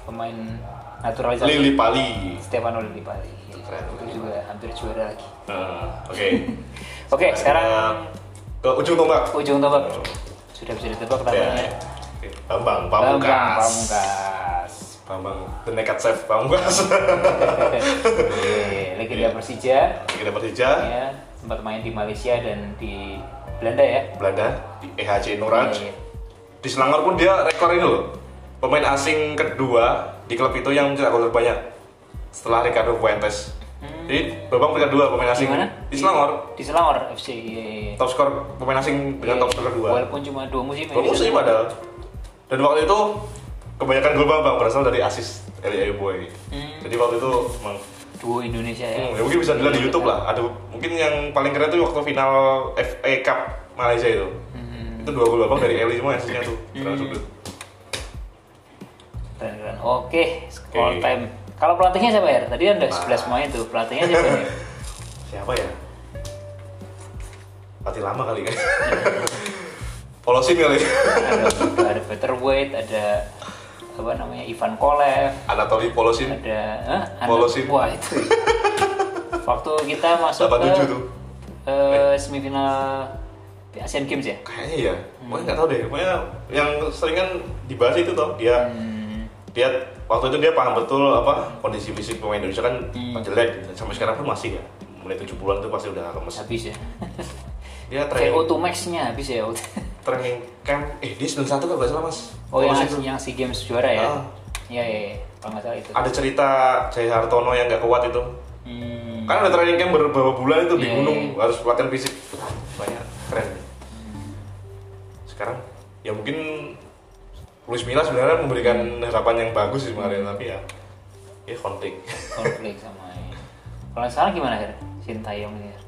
Speaker 1: pemain naturalisasi
Speaker 2: Lili Pali.
Speaker 1: Stefano Lili Pali. Iya,
Speaker 2: Keren.
Speaker 1: Itu juga hampir juara lagi.
Speaker 2: Nah, oke.
Speaker 1: Oke,
Speaker 2: Nah,
Speaker 1: sekarang
Speaker 2: ke ujung tombak.
Speaker 1: ujung tebak. Sudah bisa ditebak
Speaker 2: Ya.
Speaker 1: namanya.
Speaker 2: Oke, Bambang
Speaker 1: Bambang
Speaker 2: Pamungkas.
Speaker 1: Pamungkas.
Speaker 2: Bambang The Naked Chef Pamungkas.
Speaker 1: Oke, legenda
Speaker 2: Iya.
Speaker 1: Persija.
Speaker 2: kita Persija,
Speaker 1: Ya, sempat main di Malaysia dan di Belanda ya.
Speaker 2: Belanda di E EHC Norwich.
Speaker 1: Iya, iya.
Speaker 2: Di Selangor pun dia rekor ini loh. Pemain asing kedua di klub itu yang mencetak gol terbanyak setelah Ricardo Fuentes. Jadi Bambang peringkat dua pemain asing
Speaker 1: Hmm. Gimana?
Speaker 2: di Selangor.
Speaker 1: Di Selangor FC. Iya, iya, iya.
Speaker 2: top skor pemain asing dengan top skor kedua.
Speaker 1: Walaupun cuma dua musim. ya,
Speaker 2: Gol
Speaker 1: di
Speaker 2: musim
Speaker 1: Selangor.
Speaker 2: padahal. Dan waktu itu kebanyakan gol Bambang berasal dari asis Eli Boy.
Speaker 1: Hmm.
Speaker 2: Jadi waktu itu emang
Speaker 1: Duo Indonesia ya.
Speaker 2: hmm, ya mungkin bisa dilihat di YouTube lah. Ada mungkin yang paling keren tuh waktu final FA Cup Malaysia itu.
Speaker 1: Hmm,
Speaker 2: Itu dua gol Bambang dari Eli semua asisnya tuh. Termasuk tuh.
Speaker 1: keren keren. Oke,
Speaker 2: Oke. Nah.
Speaker 1: score time. Kalau pelatihnya siapa ya? Tadi ada 11 pemain tuh. Pelatihnya siapa ya?
Speaker 2: Siapa ya? Pati lama kali kan. Polosin kali.
Speaker 1: Ada, ada Peter Wade, ada apa namanya Ivan Kolev,
Speaker 2: Anatoly Polosin
Speaker 1: ada eh, Anak-
Speaker 2: Bolosin.
Speaker 1: Wah itu. Waktu kita masuk ke
Speaker 2: 87 tuh.
Speaker 1: eh, semifinal Asian Games ya.
Speaker 2: kayaknya ya pokoknya nggak tahu deh pokoknya yang sering kan dibahas itu toh dia dia waktu itu dia paham betul apa kondisi fisik pemain Indonesia kan
Speaker 1: Hmm.
Speaker 2: jelek sampai sekarang pun masih ya mulai 70-an tuh pasti udah lemes
Speaker 1: Habis ya.
Speaker 2: dia training
Speaker 1: VO2 max-nya habis ya.
Speaker 2: training camp eh dia 91 kan nggak salah mas
Speaker 1: Oh yang,
Speaker 2: Kalau situ.
Speaker 1: yang si Games juara ya?
Speaker 2: Ah.
Speaker 1: Iya iya. iya. Kalau nggak salah itu.
Speaker 2: ada cerita Jai Hartono yang nggak kuat itu
Speaker 1: Hmm.
Speaker 2: kan ada training camp beberapa bulan itu di
Speaker 1: Iya,
Speaker 2: gunung
Speaker 1: iya.
Speaker 2: harus pelatihan fisik banyak keren sekarang ya mungkin Luis Milla sebenarnya memberikan harapan yang bagus sih kemarin tapi ya ya konflik
Speaker 1: konflik sama ini. Kalau yang salah gimana Her? Sintayong ini. Her?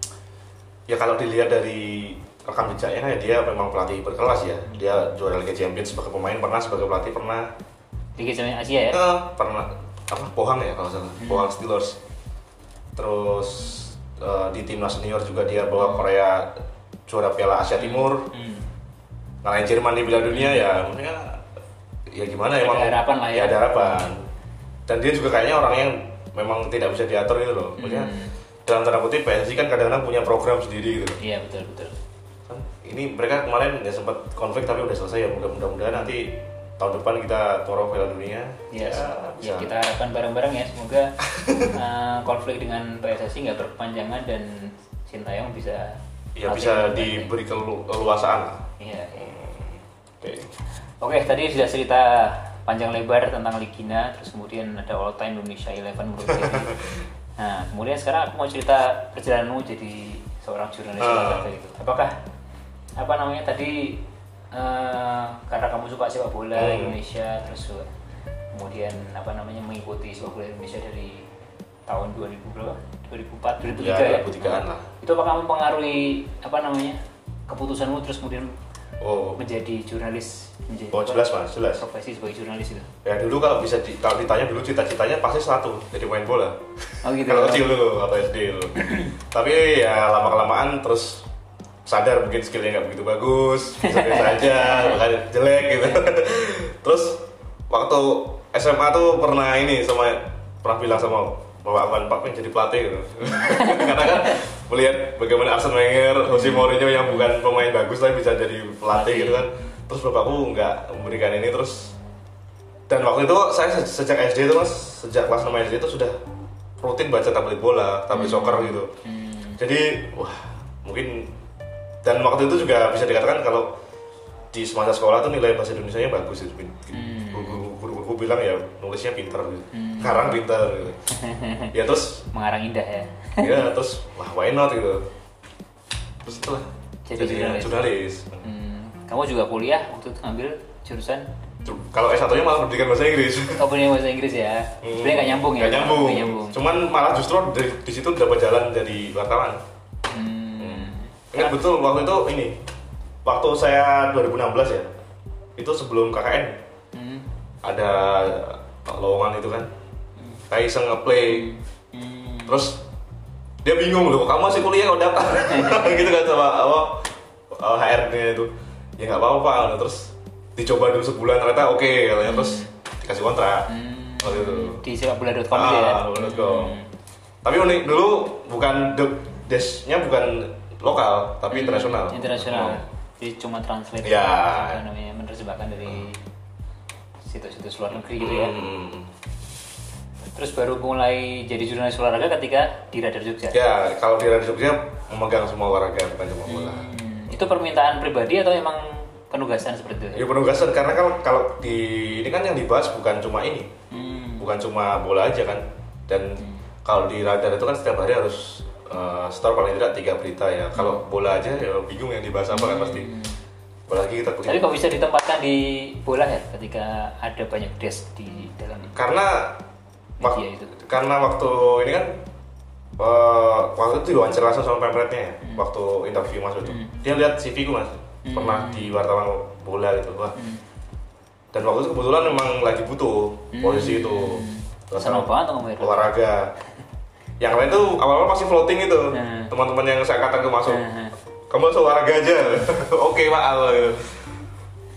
Speaker 2: ya kalau dilihat dari rekam jejaknya kan ya dia memang pelatih berkelas ya dia juara Liga Champions sebagai pemain pernah sebagai pelatih pernah
Speaker 1: Liga Champions Asia ya?
Speaker 2: Eh, pernah apa Pohang ya kalau salah Pohang Steelers terus eh, di timnas senior juga dia bawa Korea juara Piala Asia Timur
Speaker 1: Hmm.
Speaker 2: ngalahin Nah, Jerman di Piala Dunia ya maksudnya ya gimana
Speaker 1: Ada
Speaker 2: emang
Speaker 1: harapan lah ya.
Speaker 2: ada harapan dan dia juga kayaknya orang yang memang tidak bisa diatur itu loh maksudnya
Speaker 1: Hmm.
Speaker 2: dalam tanda kutip PSSI kan kadang-kadang punya program sendiri gitu loh.
Speaker 1: Iya betul betul.
Speaker 2: kan ini mereka kemarin ya sempat konflik tapi udah selesai ya Mudah- mudah-mudahan nanti tahun depan kita toro Piala Dunia
Speaker 1: Ya,
Speaker 2: bisa.
Speaker 1: ya, kita harapkan bareng-bareng ya semoga eh, konflik dengan PSSI nggak berkepanjangan dan Sintayong bisa
Speaker 2: ya
Speaker 1: latih
Speaker 2: bisa
Speaker 1: dengan baik.
Speaker 2: diberi kelu- keluasaan lah.
Speaker 1: Iya. iya.
Speaker 2: Oke.
Speaker 1: Oke, tadi sudah cerita panjang lebar tentang Ligina, terus kemudian ada All Time Indonesia Eleven menurut saya. Nah, kemudian sekarang aku mau cerita perjalananmu jadi seorang jurnalis
Speaker 2: Ah.
Speaker 1: olahraga itu. Apakah apa namanya tadi eh, karena kamu suka sepak bola
Speaker 2: Hmm.
Speaker 1: Indonesia, terus juga kemudian apa namanya mengikuti sepak bola Indonesia dari tahun 2000 berapa? 2004, 2003
Speaker 2: Ya,
Speaker 1: ya.
Speaker 2: 2003-an lah.
Speaker 1: Itu apakah mempengaruhi apa namanya keputusanmu terus kemudian
Speaker 2: Oh,
Speaker 1: menjadi jurnalis menjadi
Speaker 2: oh
Speaker 1: apa?
Speaker 2: jelas mas, jelas.
Speaker 1: profesi sebagai jurnalis itu
Speaker 2: Ya dulu kalau bisa di, kalau ditanya dulu cita-citanya pasti satu, jadi main bola.
Speaker 1: Oh, gitu.
Speaker 2: kalau kecil dulu atau SD dulu. Tapi ya lama kelamaan terus sadar mungkin skillnya nggak begitu bagus, biasa aja, bahkan jelek gitu. terus waktu SMA tuh pernah ini sama pernah bilang sama bapak aku kan Pak pengen jadi pelatih gitu. Karena kan melihat bagaimana Arsene Wenger, Jose Mourinho yang bukan pemain bagus tapi bisa jadi pelatih gitu kan. Terus bapakku nggak memberikan ini terus dan waktu itu saya se- sejak SD itu mas sejak kelas 6 SD itu sudah rutin baca tablet bola
Speaker 1: Hmm.
Speaker 2: tablet soccer gitu jadi wah mungkin dan waktu itu juga bisa dikatakan kalau di semasa sekolah tuh nilai bahasa Indonesia nya bagus gitu
Speaker 1: Hmm.
Speaker 2: guru guru bilang ya nulisnya pinter gitu karang pinter gitu ya terus
Speaker 1: mengarang indah ya
Speaker 2: ya terus wah why not gitu terus itulah
Speaker 1: Jadi
Speaker 2: jadi,
Speaker 1: jurnalis.
Speaker 2: jurnalis
Speaker 1: hmm. kamu juga kuliah waktu itu ambil jurusan
Speaker 2: Tuh, kalau S 1 nya malah pendidikan bahasa Inggris
Speaker 1: oh punya bahasa Inggris ya
Speaker 2: Hmm.
Speaker 1: sebenarnya nggak nyambung ya
Speaker 2: Nggak nyambung.
Speaker 1: Nggak nyambung.
Speaker 2: Cuman malah justru dari di situ dapat jalan jadi wartawan.
Speaker 1: Hmm.
Speaker 2: Ingat betul waktu itu ini. Waktu saya 2016 ya. Itu sebelum KKN
Speaker 1: Hmm.
Speaker 2: ada lowongan itu kan. Saya iseng nge-play
Speaker 1: Hmm.
Speaker 2: terus dia bingung loh, kamu masih kuliah udah gitu kan sama apa eh, HRD-nya itu. Ya nggak apa-apa terus dicoba dulu sebulan ternyata oke katanya terus dikasih kontrak.
Speaker 1: Hmm.
Speaker 2: Waktu itu.
Speaker 1: di sepakbola.com
Speaker 2: Oh, gitu. Ah,
Speaker 1: itu ya
Speaker 2: bola.com.
Speaker 1: Hmm.
Speaker 2: Tapi unik dulu bukan the desknya bukan lokal tapi internasional.
Speaker 1: Hmm. internasional
Speaker 2: Oh.
Speaker 1: jadi cuma translate
Speaker 2: Ya.
Speaker 1: apa namanya menerjemahkan dari situs-situs luar negeri gitu ya
Speaker 2: Hmm.
Speaker 1: terus baru mulai jadi jurnalis olahraga ketika di Radar Jogja
Speaker 2: Ya kalau di Radio Jogja memegang semua olahraga bukan cuma bola.
Speaker 1: Hmm, itu permintaan pribadi atau emang penugasan seperti itu?
Speaker 2: Ya penugasan karena kalau kalau di ini kan yang dibahas bukan cuma ini,
Speaker 1: Hmm,
Speaker 2: bukan cuma bola aja kan. Dan kalau di radar itu kan setiap hari harus eh, store paling tidak tiga berita ya. Kalau
Speaker 1: Hmm.
Speaker 2: bola aja ya bingung yang dibahas apa kan pasti. Apalagi kita
Speaker 1: Tapi kok bisa ditempatkan di bola ya ketika ada banyak desk di dalam
Speaker 2: karena wak-
Speaker 1: Media Iya, itu.
Speaker 2: karena waktu ini kan eh, waktu itu diwawancara langsung sama pemretnya ya,
Speaker 1: Hmm.
Speaker 2: waktu interview mas itu dia lihat CV ku mas pernah di wartawan bola gitu wah dan waktu itu kebetulan memang lagi butuh posisi itu Terus
Speaker 1: Senang Hmm. banget tuh ngomongin.
Speaker 2: olahraga yang lain tuh awal-awal masih floating itu
Speaker 1: Hmm.
Speaker 2: teman-teman yang seangkatan tuh masuk
Speaker 1: Hmm.
Speaker 2: kamu harus olahraga aja oke pak gitu.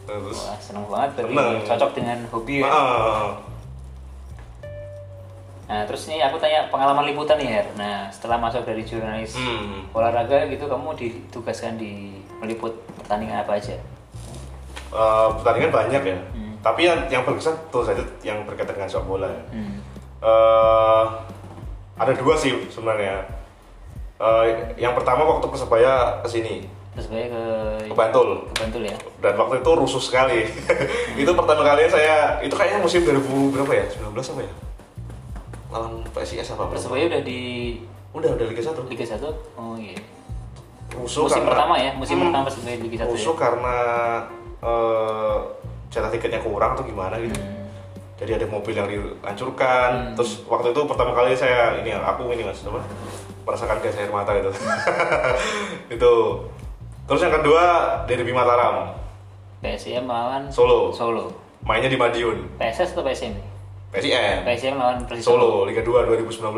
Speaker 2: terus
Speaker 1: Wah, seneng banget berarti
Speaker 2: Seneng.
Speaker 1: cocok dengan hobi ya.
Speaker 2: ah,
Speaker 1: Nah, terus ini aku tanya pengalaman liputan nih, Her. Nah, setelah masuk dari jurnalis
Speaker 2: hmm.
Speaker 1: olahraga gitu, kamu ditugaskan di meliput pertandingan apa aja?
Speaker 2: Eh, pertandingan banyak ya.
Speaker 1: Hmm.
Speaker 2: Tapi yang yang berkesan tentu saja yang berkaitan dengan sepak bola. Ya.
Speaker 1: Hmm.
Speaker 2: Eh, ada dua sih sebenarnya. Eh, yang pertama waktu persebaya kesini
Speaker 1: Terus balik ke
Speaker 2: ke Bantul
Speaker 1: ke Bantul ya.
Speaker 2: dan waktu itu rusuh sekali. itu pertama kali saya itu kayaknya musim 2000 berapa ya? 19 apa ya? Lawan PSIS apa berapa?
Speaker 1: Persebaya udah di
Speaker 2: Udah udah Liga 1.
Speaker 1: Liga 1. Oh iya.
Speaker 2: Rusuh
Speaker 1: musim
Speaker 2: karena-
Speaker 1: pertama ya, musim
Speaker 2: Hmm.
Speaker 1: pertama Persebaya di Liga ya? 1.
Speaker 2: Rusuh karena eh, jatah tiketnya kurang atau gimana gitu. Jadi ada mobil yang dihancurkan. Terus waktu itu pertama kali saya ini aku ini mas apa merasakan gas air mata itu. itu. Terus yang kedua Derby Mataram
Speaker 1: PSM lawan
Speaker 2: Solo.
Speaker 1: Solo.
Speaker 2: Mainnya di Madiun.
Speaker 1: PSS atau PSM? nih?
Speaker 2: PSIM
Speaker 1: PSM lawan Persis
Speaker 2: Solo Liga 2 2019.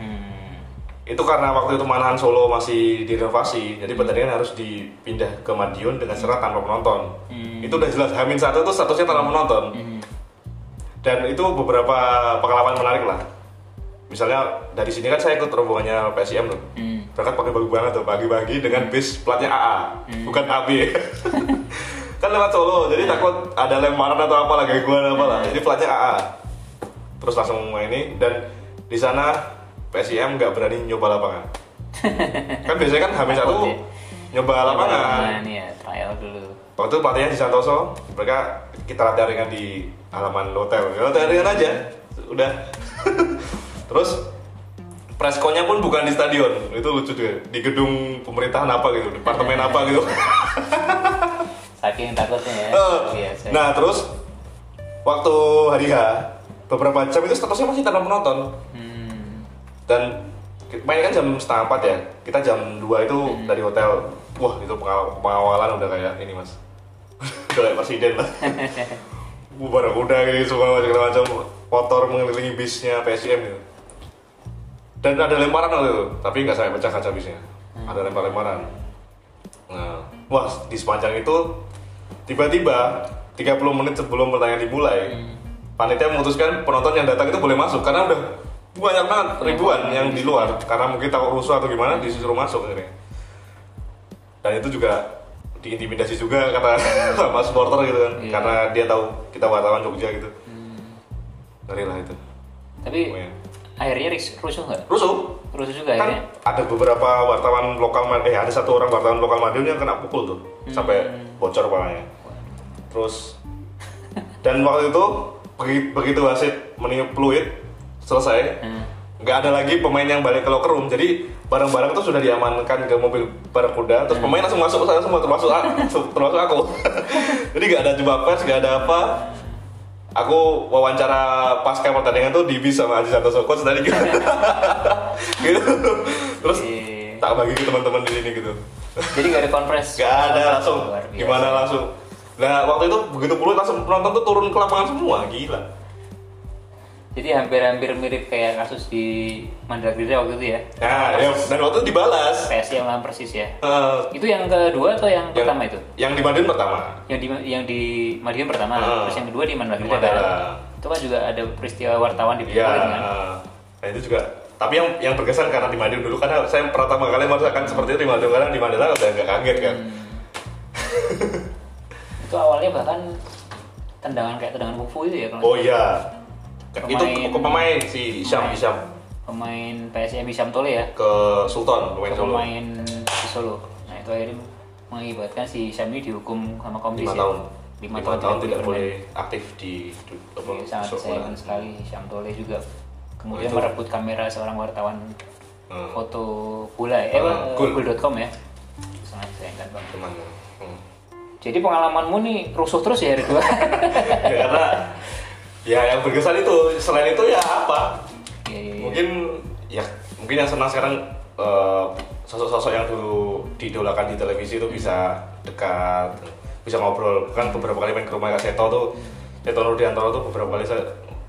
Speaker 1: Hmm.
Speaker 2: itu karena waktu itu Manahan Solo masih direnovasi jadi pertandingan harus dipindah ke Madiun dengan syarat tanpa penonton
Speaker 1: Hmm.
Speaker 2: itu udah jelas Hamin satu itu statusnya tanpa penonton dan itu beberapa pengalaman menarik lah misalnya dari sini kan saya ikut rombongannya PSIM tuh
Speaker 1: Hmm.
Speaker 2: berangkat pakai bagi banget tuh pagi-pagi dengan bis platnya AA bukan AB kan lewat Solo jadi takut ada lemparan atau apalah gangguan apalah jadi platnya AA terus langsung ini dan di sana PSIM nggak berani nyoba lapangan kan biasanya kan Hamin
Speaker 1: Takut
Speaker 2: satu
Speaker 1: ya?
Speaker 2: nyoba lapangan.
Speaker 1: Lapangan, ya, trial dulu.
Speaker 2: Waktu pelatihnya di Santoso, mereka kita latihan ringan di halaman hotel. Ya, latihan ringan aja, udah. Terus preskonya pun bukan di stadion, itu lucu juga. Di gedung pemerintahan apa gitu, departemen apa gitu.
Speaker 1: Saking takutnya ya.
Speaker 2: Eh,
Speaker 1: biasa.
Speaker 2: nah terus waktu hari H beberapa jam itu statusnya masih tanpa penonton
Speaker 1: Hmm.
Speaker 2: dan main kan jam setengah empat ya kita jam 2 itu
Speaker 1: Hmm.
Speaker 2: dari hotel wah itu pengaw- pengawalan udah kayak ini mas udah kayak presiden lah bubar kuda gitu semua macam macam motor mengelilingi bisnya PSM gitu dan ada lemparan waktu itu tapi nggak sampai pecah kaca bisnya ada lempar lemparan nah wah di sepanjang itu tiba-tiba 30 menit sebelum pertandingan dimulai panitia memutuskan penonton yang datang itu boleh masuk karena udah banyak banget ribuan yang di luar karena mungkin takut rusuh atau gimana disuruh masuk akhirnya dan itu juga diintimidasi juga kata sama supporter gitu kan
Speaker 1: Iya.
Speaker 2: karena dia tahu kita wartawan Jogja gitu ngeri lah itu
Speaker 1: Tapi
Speaker 2: Lumayan.
Speaker 1: akhirnya ris- rusuh nggak?
Speaker 2: rusuh
Speaker 1: Rusuh juga ya. akhirnya.
Speaker 2: kan ada beberapa wartawan lokal Mad- eh ada satu orang wartawan lokal Madiun yang kena pukul tuh sampai bocor kepalanya terus dan waktu itu begi- begitu wasit meniup fluid selesai
Speaker 1: Hmm.
Speaker 2: nggak ada lagi pemain yang balik ke locker room jadi barang-barang itu sudah diamankan ke mobil barakuda
Speaker 1: Hmm.
Speaker 2: terus pemain langsung masuk ke sana semua termasuk aku, termasuk aku jadi nggak ada jumpa pers nggak ada apa aku wawancara pasca pertandingan tuh di bis sama Aziz Santoso coach tadi gitu gitu terus
Speaker 1: Iya.
Speaker 2: tak bagi ke teman-teman di sini gitu
Speaker 1: Jadi nggak ada konfres?
Speaker 2: nggak ada langsung
Speaker 1: Luar biasa.
Speaker 2: gimana langsung nah waktu itu begitu puluh langsung penonton tuh turun ke lapangan semua gila
Speaker 1: Jadi hampir-hampir mirip kayak kasus di Mandala Gerita waktu itu ya.
Speaker 2: nah ya, dan waktu itu dibalas
Speaker 1: PSI yang lawan persis ya.
Speaker 2: Eh,
Speaker 1: Itu yang kedua atau yang
Speaker 2: yang-
Speaker 1: pertama itu?
Speaker 2: yang di Madiun pertama
Speaker 1: Yang di yang di Madiun pertama,
Speaker 2: Ah.
Speaker 1: terus yang kedua di Mandala Gerita
Speaker 2: Mandala.
Speaker 1: kan? Itu kan juga ada peristiwa wartawan di
Speaker 2: Iya.
Speaker 1: kan?
Speaker 2: Nah itu juga. Tapi yang yang berkesan karena di Madiun dulu karena saya pertama kali merasakan seperti itu di Madiun karena di Mandela udah nggak kaget kan.
Speaker 1: Hmm. Itu awalnya bahkan tendangan kayak tendangan kungfu itu ya kalau
Speaker 2: Oh iya. Itu
Speaker 1: Pemain-
Speaker 2: ke pemain si Isyam
Speaker 1: pemain.
Speaker 2: Isyam
Speaker 1: pemain PSM Hisham Tole ya
Speaker 2: ke Sultan pemain
Speaker 1: ke
Speaker 2: Solo.
Speaker 1: pemain di Solo. Nah itu akhirnya mengakibatkan si Hisham ini dihukum sama komdis
Speaker 2: Lima
Speaker 1: ya.
Speaker 2: tahun.
Speaker 1: Lima,
Speaker 2: Lima tahun tidak
Speaker 1: bermain.
Speaker 2: boleh aktif di di- apa,
Speaker 1: Iya, sangat
Speaker 2: sekolah.
Speaker 1: disayangkan sekali Hisham Tole juga kemudian
Speaker 2: Itu.
Speaker 1: merebut kamera seorang wartawan
Speaker 2: Hmm.
Speaker 1: foto bola ya, eh, apa,
Speaker 2: Hmm, Gul.
Speaker 1: Gul.com ya sangat kan, disayangkan banget
Speaker 2: Cuman, hmm.
Speaker 1: jadi pengalamanmu nih rusuh terus ya hari dua
Speaker 2: Ya, karena ya yang berkesan itu selain itu ya apa
Speaker 1: Iya, iya, iya.
Speaker 2: mungkin ya mungkin yang senang sekarang eh, sosok-sosok yang dulu diidolakan di televisi itu bisa dekat bisa ngobrol kan beberapa kali main ke rumah Kak Seto tuh Seto Nurdiantoro tuh beberapa kali saya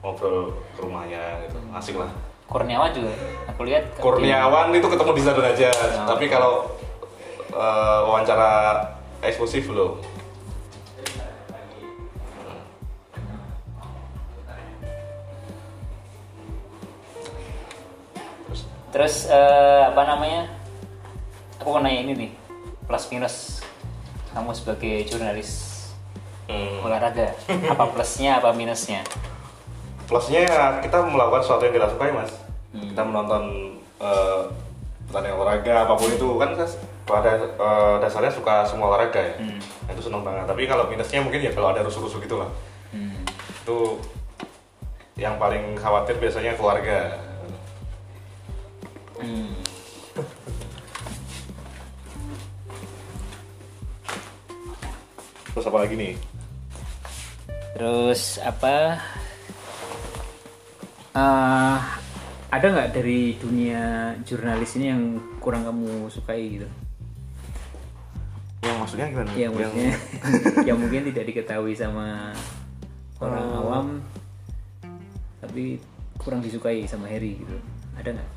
Speaker 2: ngobrol ke rumahnya gitu asik lah
Speaker 1: Kurniawan juga aku lihat
Speaker 2: Kurniawan itu ketemu di stadion aja tapi kalau eh, wawancara eksklusif loh
Speaker 1: terus eh, apa namanya aku mau nanya ini nih plus minus kamu sebagai jurnalis
Speaker 2: Hmm.
Speaker 1: olahraga apa plusnya apa minusnya
Speaker 2: plusnya ya kita melakukan sesuatu yang kita sukai mas
Speaker 1: Hmm.
Speaker 2: kita menonton eh, pertandingan olahraga apapun itu kan saya s- pada eh, dasarnya suka semua olahraga ya
Speaker 1: Hmm.
Speaker 2: Nah, itu seneng banget tapi kalau minusnya mungkin ya kalau ada rusuh-rusuh gitu lah
Speaker 1: Hmm.
Speaker 2: itu yang paling khawatir biasanya keluarga
Speaker 1: Hmm.
Speaker 2: terus apa lagi nih
Speaker 1: Terus apa? eh, ada nggak dari dunia jurnalis ini yang kurang kamu sukai gitu?
Speaker 2: yang Ya, maksudnya gimana
Speaker 1: Iya, Yang maksudnya, yang mungkin tidak diketahui sama orang awam, tapi kurang disukai sama Harry gitu. Ada nggak?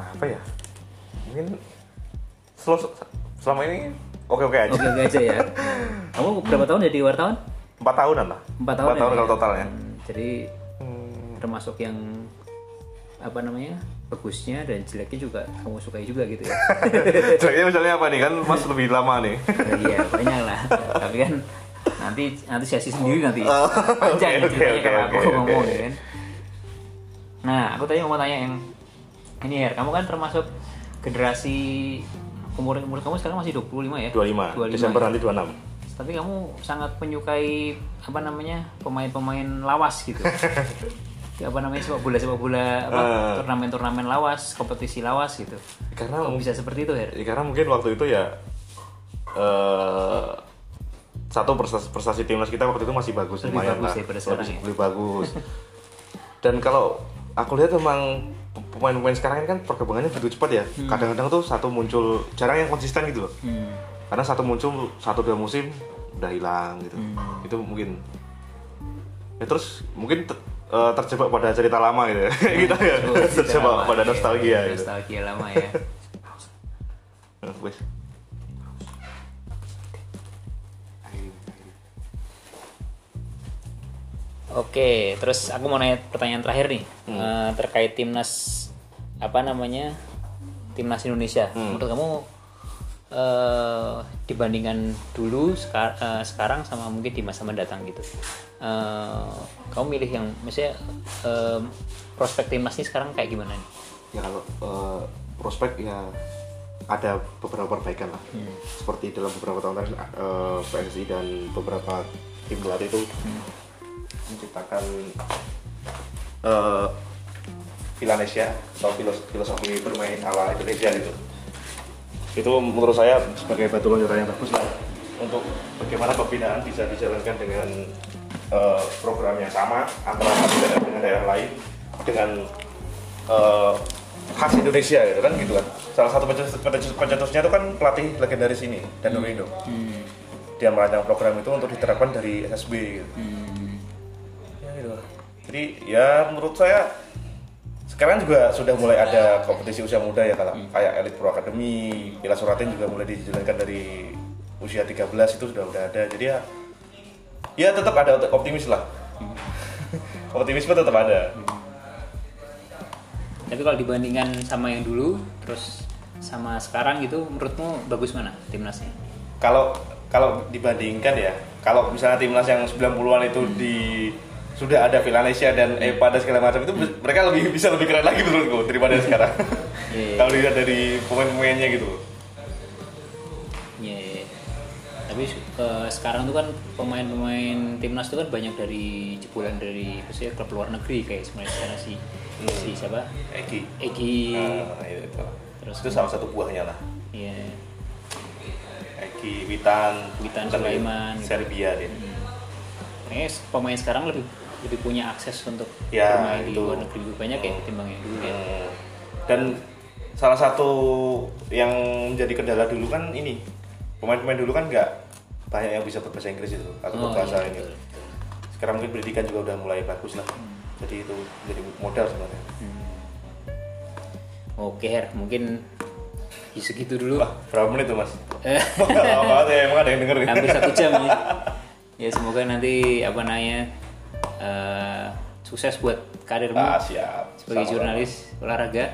Speaker 2: apa ya mungkin sel- selama ini oke-oke aja
Speaker 1: Oke oke aja ya. Kamu berapa tahun jadi wartawan?
Speaker 2: empat tahunan lah
Speaker 1: Empat tahun. ya?
Speaker 2: kalau total ya
Speaker 1: Hmm, Jadi termasuk yang apa namanya bagusnya dan jeleknya juga kamu sukai juga gitu ya
Speaker 2: Jeleknya misalnya apa nih kan Mas lebih lama nih.
Speaker 1: Ya, iya banyak lah tapi kan nanti nanti sesi sendiri nanti panjang
Speaker 2: Oh, oke,
Speaker 1: ceritanya
Speaker 2: oke,
Speaker 1: kalau aku
Speaker 2: oke, oke.
Speaker 1: ngomong ya kan nah aku tadi mau tanya yang ini ya kamu kan termasuk generasi umur umur kamu sekarang masih 25 ya?
Speaker 2: 25, Desember nanti 26.
Speaker 1: Tapi kamu sangat menyukai apa namanya pemain-pemain lawas gitu. Ya, apa namanya sepak bola sepak bola apa,
Speaker 2: Eh.
Speaker 1: turnamen-turnamen lawas, kompetisi lawas gitu.
Speaker 2: Karena
Speaker 1: Kamu
Speaker 2: mungkin
Speaker 1: bisa seperti itu Her?
Speaker 2: ya, karena mungkin waktu itu ya eh satu prestasi, prestasi timnas kita waktu itu masih bagus
Speaker 1: Lebih
Speaker 2: lumayan
Speaker 1: bagus
Speaker 2: lah.
Speaker 1: daripada sekarang
Speaker 2: lebih,
Speaker 1: ya.
Speaker 2: lebih bagus. Dan kalau aku lihat memang pe- pemain-pemain sekarang ini kan perkembangannya begitu cepat ya. Kadang-kadang tuh satu muncul jarang yang konsisten gitu loh.
Speaker 1: Hmm.
Speaker 2: Karena satu muncul satu dua musim udah hilang gitu.
Speaker 1: Hmm.
Speaker 2: Itu mungkin ya terus mungkin ter- eh, terjebak pada cerita lama gitu ya. kita ya.
Speaker 1: Terus,
Speaker 2: Terjebak
Speaker 1: Hmm. Oh, lama,
Speaker 2: pada
Speaker 1: iya,
Speaker 2: nostalgia gitu.
Speaker 1: Nostalgia lama ya.
Speaker 2: Nah, wes.
Speaker 1: Oke, terus aku mau nanya pertanyaan terakhir nih
Speaker 2: Hmm.
Speaker 1: Eh, terkait timnas apa namanya timnas Indonesia.
Speaker 2: Hmm.
Speaker 1: Menurut kamu eh, dibandingkan dulu seka- eh, sekarang sama mungkin di masa mendatang gitu, Eh, kamu milih yang maksudnya eh, prospek timnas ini sekarang kayak gimana nih?
Speaker 2: ya kalau eh, prospek ya ada beberapa perbaikan lah
Speaker 1: Hmm.
Speaker 2: seperti dalam beberapa tahun terakhir eh, PSSI dan beberapa tim pelatih itu
Speaker 1: Hmm.
Speaker 2: menciptakan eh Villanesia atau filos- filosofi bermain ala Indonesia gitu itu menurut saya sebagai batu loncatan yang bagus lah untuk bagaimana pembinaan bisa dijalankan dengan eh, program yang sama antara satu daerah dengan daerah lain dengan eh, khas Indonesia gitu kan gitu kan salah satu pencetus- pencetus- pencetusnya itu kan pelatih legendaris ini dan Indo Hmm. dia merancang program itu untuk diterapkan dari SSB gitu. Ya, gitu lah. Jadi ya menurut saya sekarang juga sudah mulai ada kompetisi usia muda ya
Speaker 1: Hmm.
Speaker 2: kalau kayak Elite Pro Academy, Piala Suratin juga mulai dijalankan dari usia 13 itu sudah udah ada. Jadi ya ya tetap ada untuk optimis lah.
Speaker 1: Hmm.
Speaker 2: Optimisme tetap ada.
Speaker 1: Tapi kalau dibandingkan sama yang dulu, terus sama sekarang gitu, menurutmu bagus mana timnasnya?
Speaker 2: Kalau kalau dibandingkan ya, kalau misalnya timnas yang 90-an itu
Speaker 1: Hmm.
Speaker 2: di sudah ada Villanesia dan Epa dan segala macam
Speaker 1: Hmm.
Speaker 2: itu mereka lebih bisa lebih keren lagi menurutku daripada sekarang.
Speaker 1: Iya.
Speaker 2: kalau dilihat dari pemain-pemainnya gitu.
Speaker 1: Iya. iya, iya. Tapi eh, sekarang tuh kan pemain-pemain timnas tuh kan banyak dari jebolan dari maksudnya klub luar negeri kayak sebenarnya sekarang si si siapa?
Speaker 2: Egi.
Speaker 1: Egi.
Speaker 2: Hmm. Nah, itu, itu.
Speaker 1: Terus?
Speaker 2: itu salah satu buahnya lah.
Speaker 1: Iya.
Speaker 2: Eki, Witan,
Speaker 1: Witan
Speaker 2: bukan dari
Speaker 1: Sulaiman, gitu.
Speaker 2: Serbia dia.
Speaker 1: Kayaknya pemain sekarang lebih lebih punya akses untuk
Speaker 2: Ya,
Speaker 1: bermain di
Speaker 2: itu.
Speaker 1: luar negeri lebih banyak ya ketimbang yang dulu ya.
Speaker 2: Hmm. Dan salah satu yang menjadi kendala dulu kan ini pemain-pemain dulu kan nggak banyak yang bisa berbahasa Inggris itu atau
Speaker 1: Oh,
Speaker 2: berbahasa
Speaker 1: iya,
Speaker 2: ini.
Speaker 1: betul, Hmm. betul.
Speaker 2: Sekarang mungkin pendidikan juga udah mulai bagus lah. Jadi itu jadi modal sebenarnya.
Speaker 1: Oke, Her, mungkin ya segitu dulu.
Speaker 2: Wah, berapa menit tuh mas?
Speaker 1: Eh,
Speaker 2: Lama banget ya, emang ada yang denger
Speaker 1: hampir satu jam ya. Ya semoga nanti apa namanya eh, sukses buat karirmu.
Speaker 2: Ah, siap.
Speaker 1: sebagai
Speaker 2: Sama-sama.
Speaker 1: jurnalis olahraga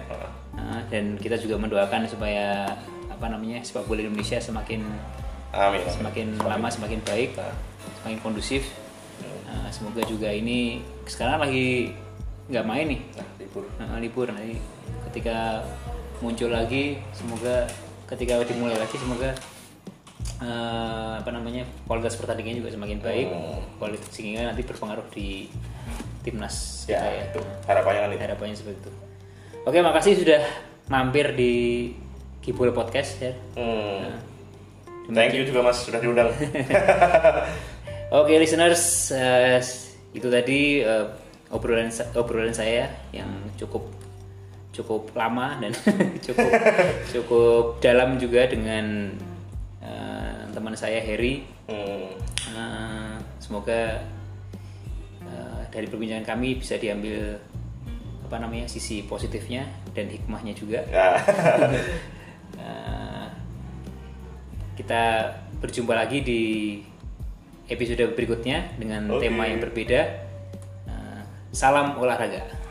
Speaker 1: Nah, dan kita juga mendoakan supaya apa namanya sepak bola Indonesia semakin
Speaker 2: Amin. amin.
Speaker 1: semakin lama semakin baik semakin kondusif Nah, semoga juga ini sekarang lagi nggak main nih
Speaker 2: Nah, libur.
Speaker 1: Nah, libur nanti ketika muncul lagi semoga ketika dimulai lagi semoga eh, apa namanya kualitas pertandingannya juga semakin baik kualitas sehingga nanti berpengaruh di timnas
Speaker 2: Ya,
Speaker 1: kita ya
Speaker 2: itu harapannya kan itu.
Speaker 1: harapannya seperti itu. Oke, makasih sudah mampir di Kibul Podcast ya.
Speaker 2: Hmm. Thank you juga mas sudah diundang.
Speaker 1: Oke, listeners, eh, itu tadi eh, obrolan sa- obrolan saya yang cukup cukup lama dan cukup cukup dalam juga dengan eh, teman saya Harry.
Speaker 2: Hmm.
Speaker 1: Eh, semoga eh, dari perbincangan kami bisa diambil apa namanya sisi positifnya dan hikmahnya juga.
Speaker 2: Ya.
Speaker 1: Nah, kita berjumpa lagi di episode berikutnya dengan
Speaker 2: Oke.
Speaker 1: tema yang berbeda. Nah, Eh, Salam olahraga.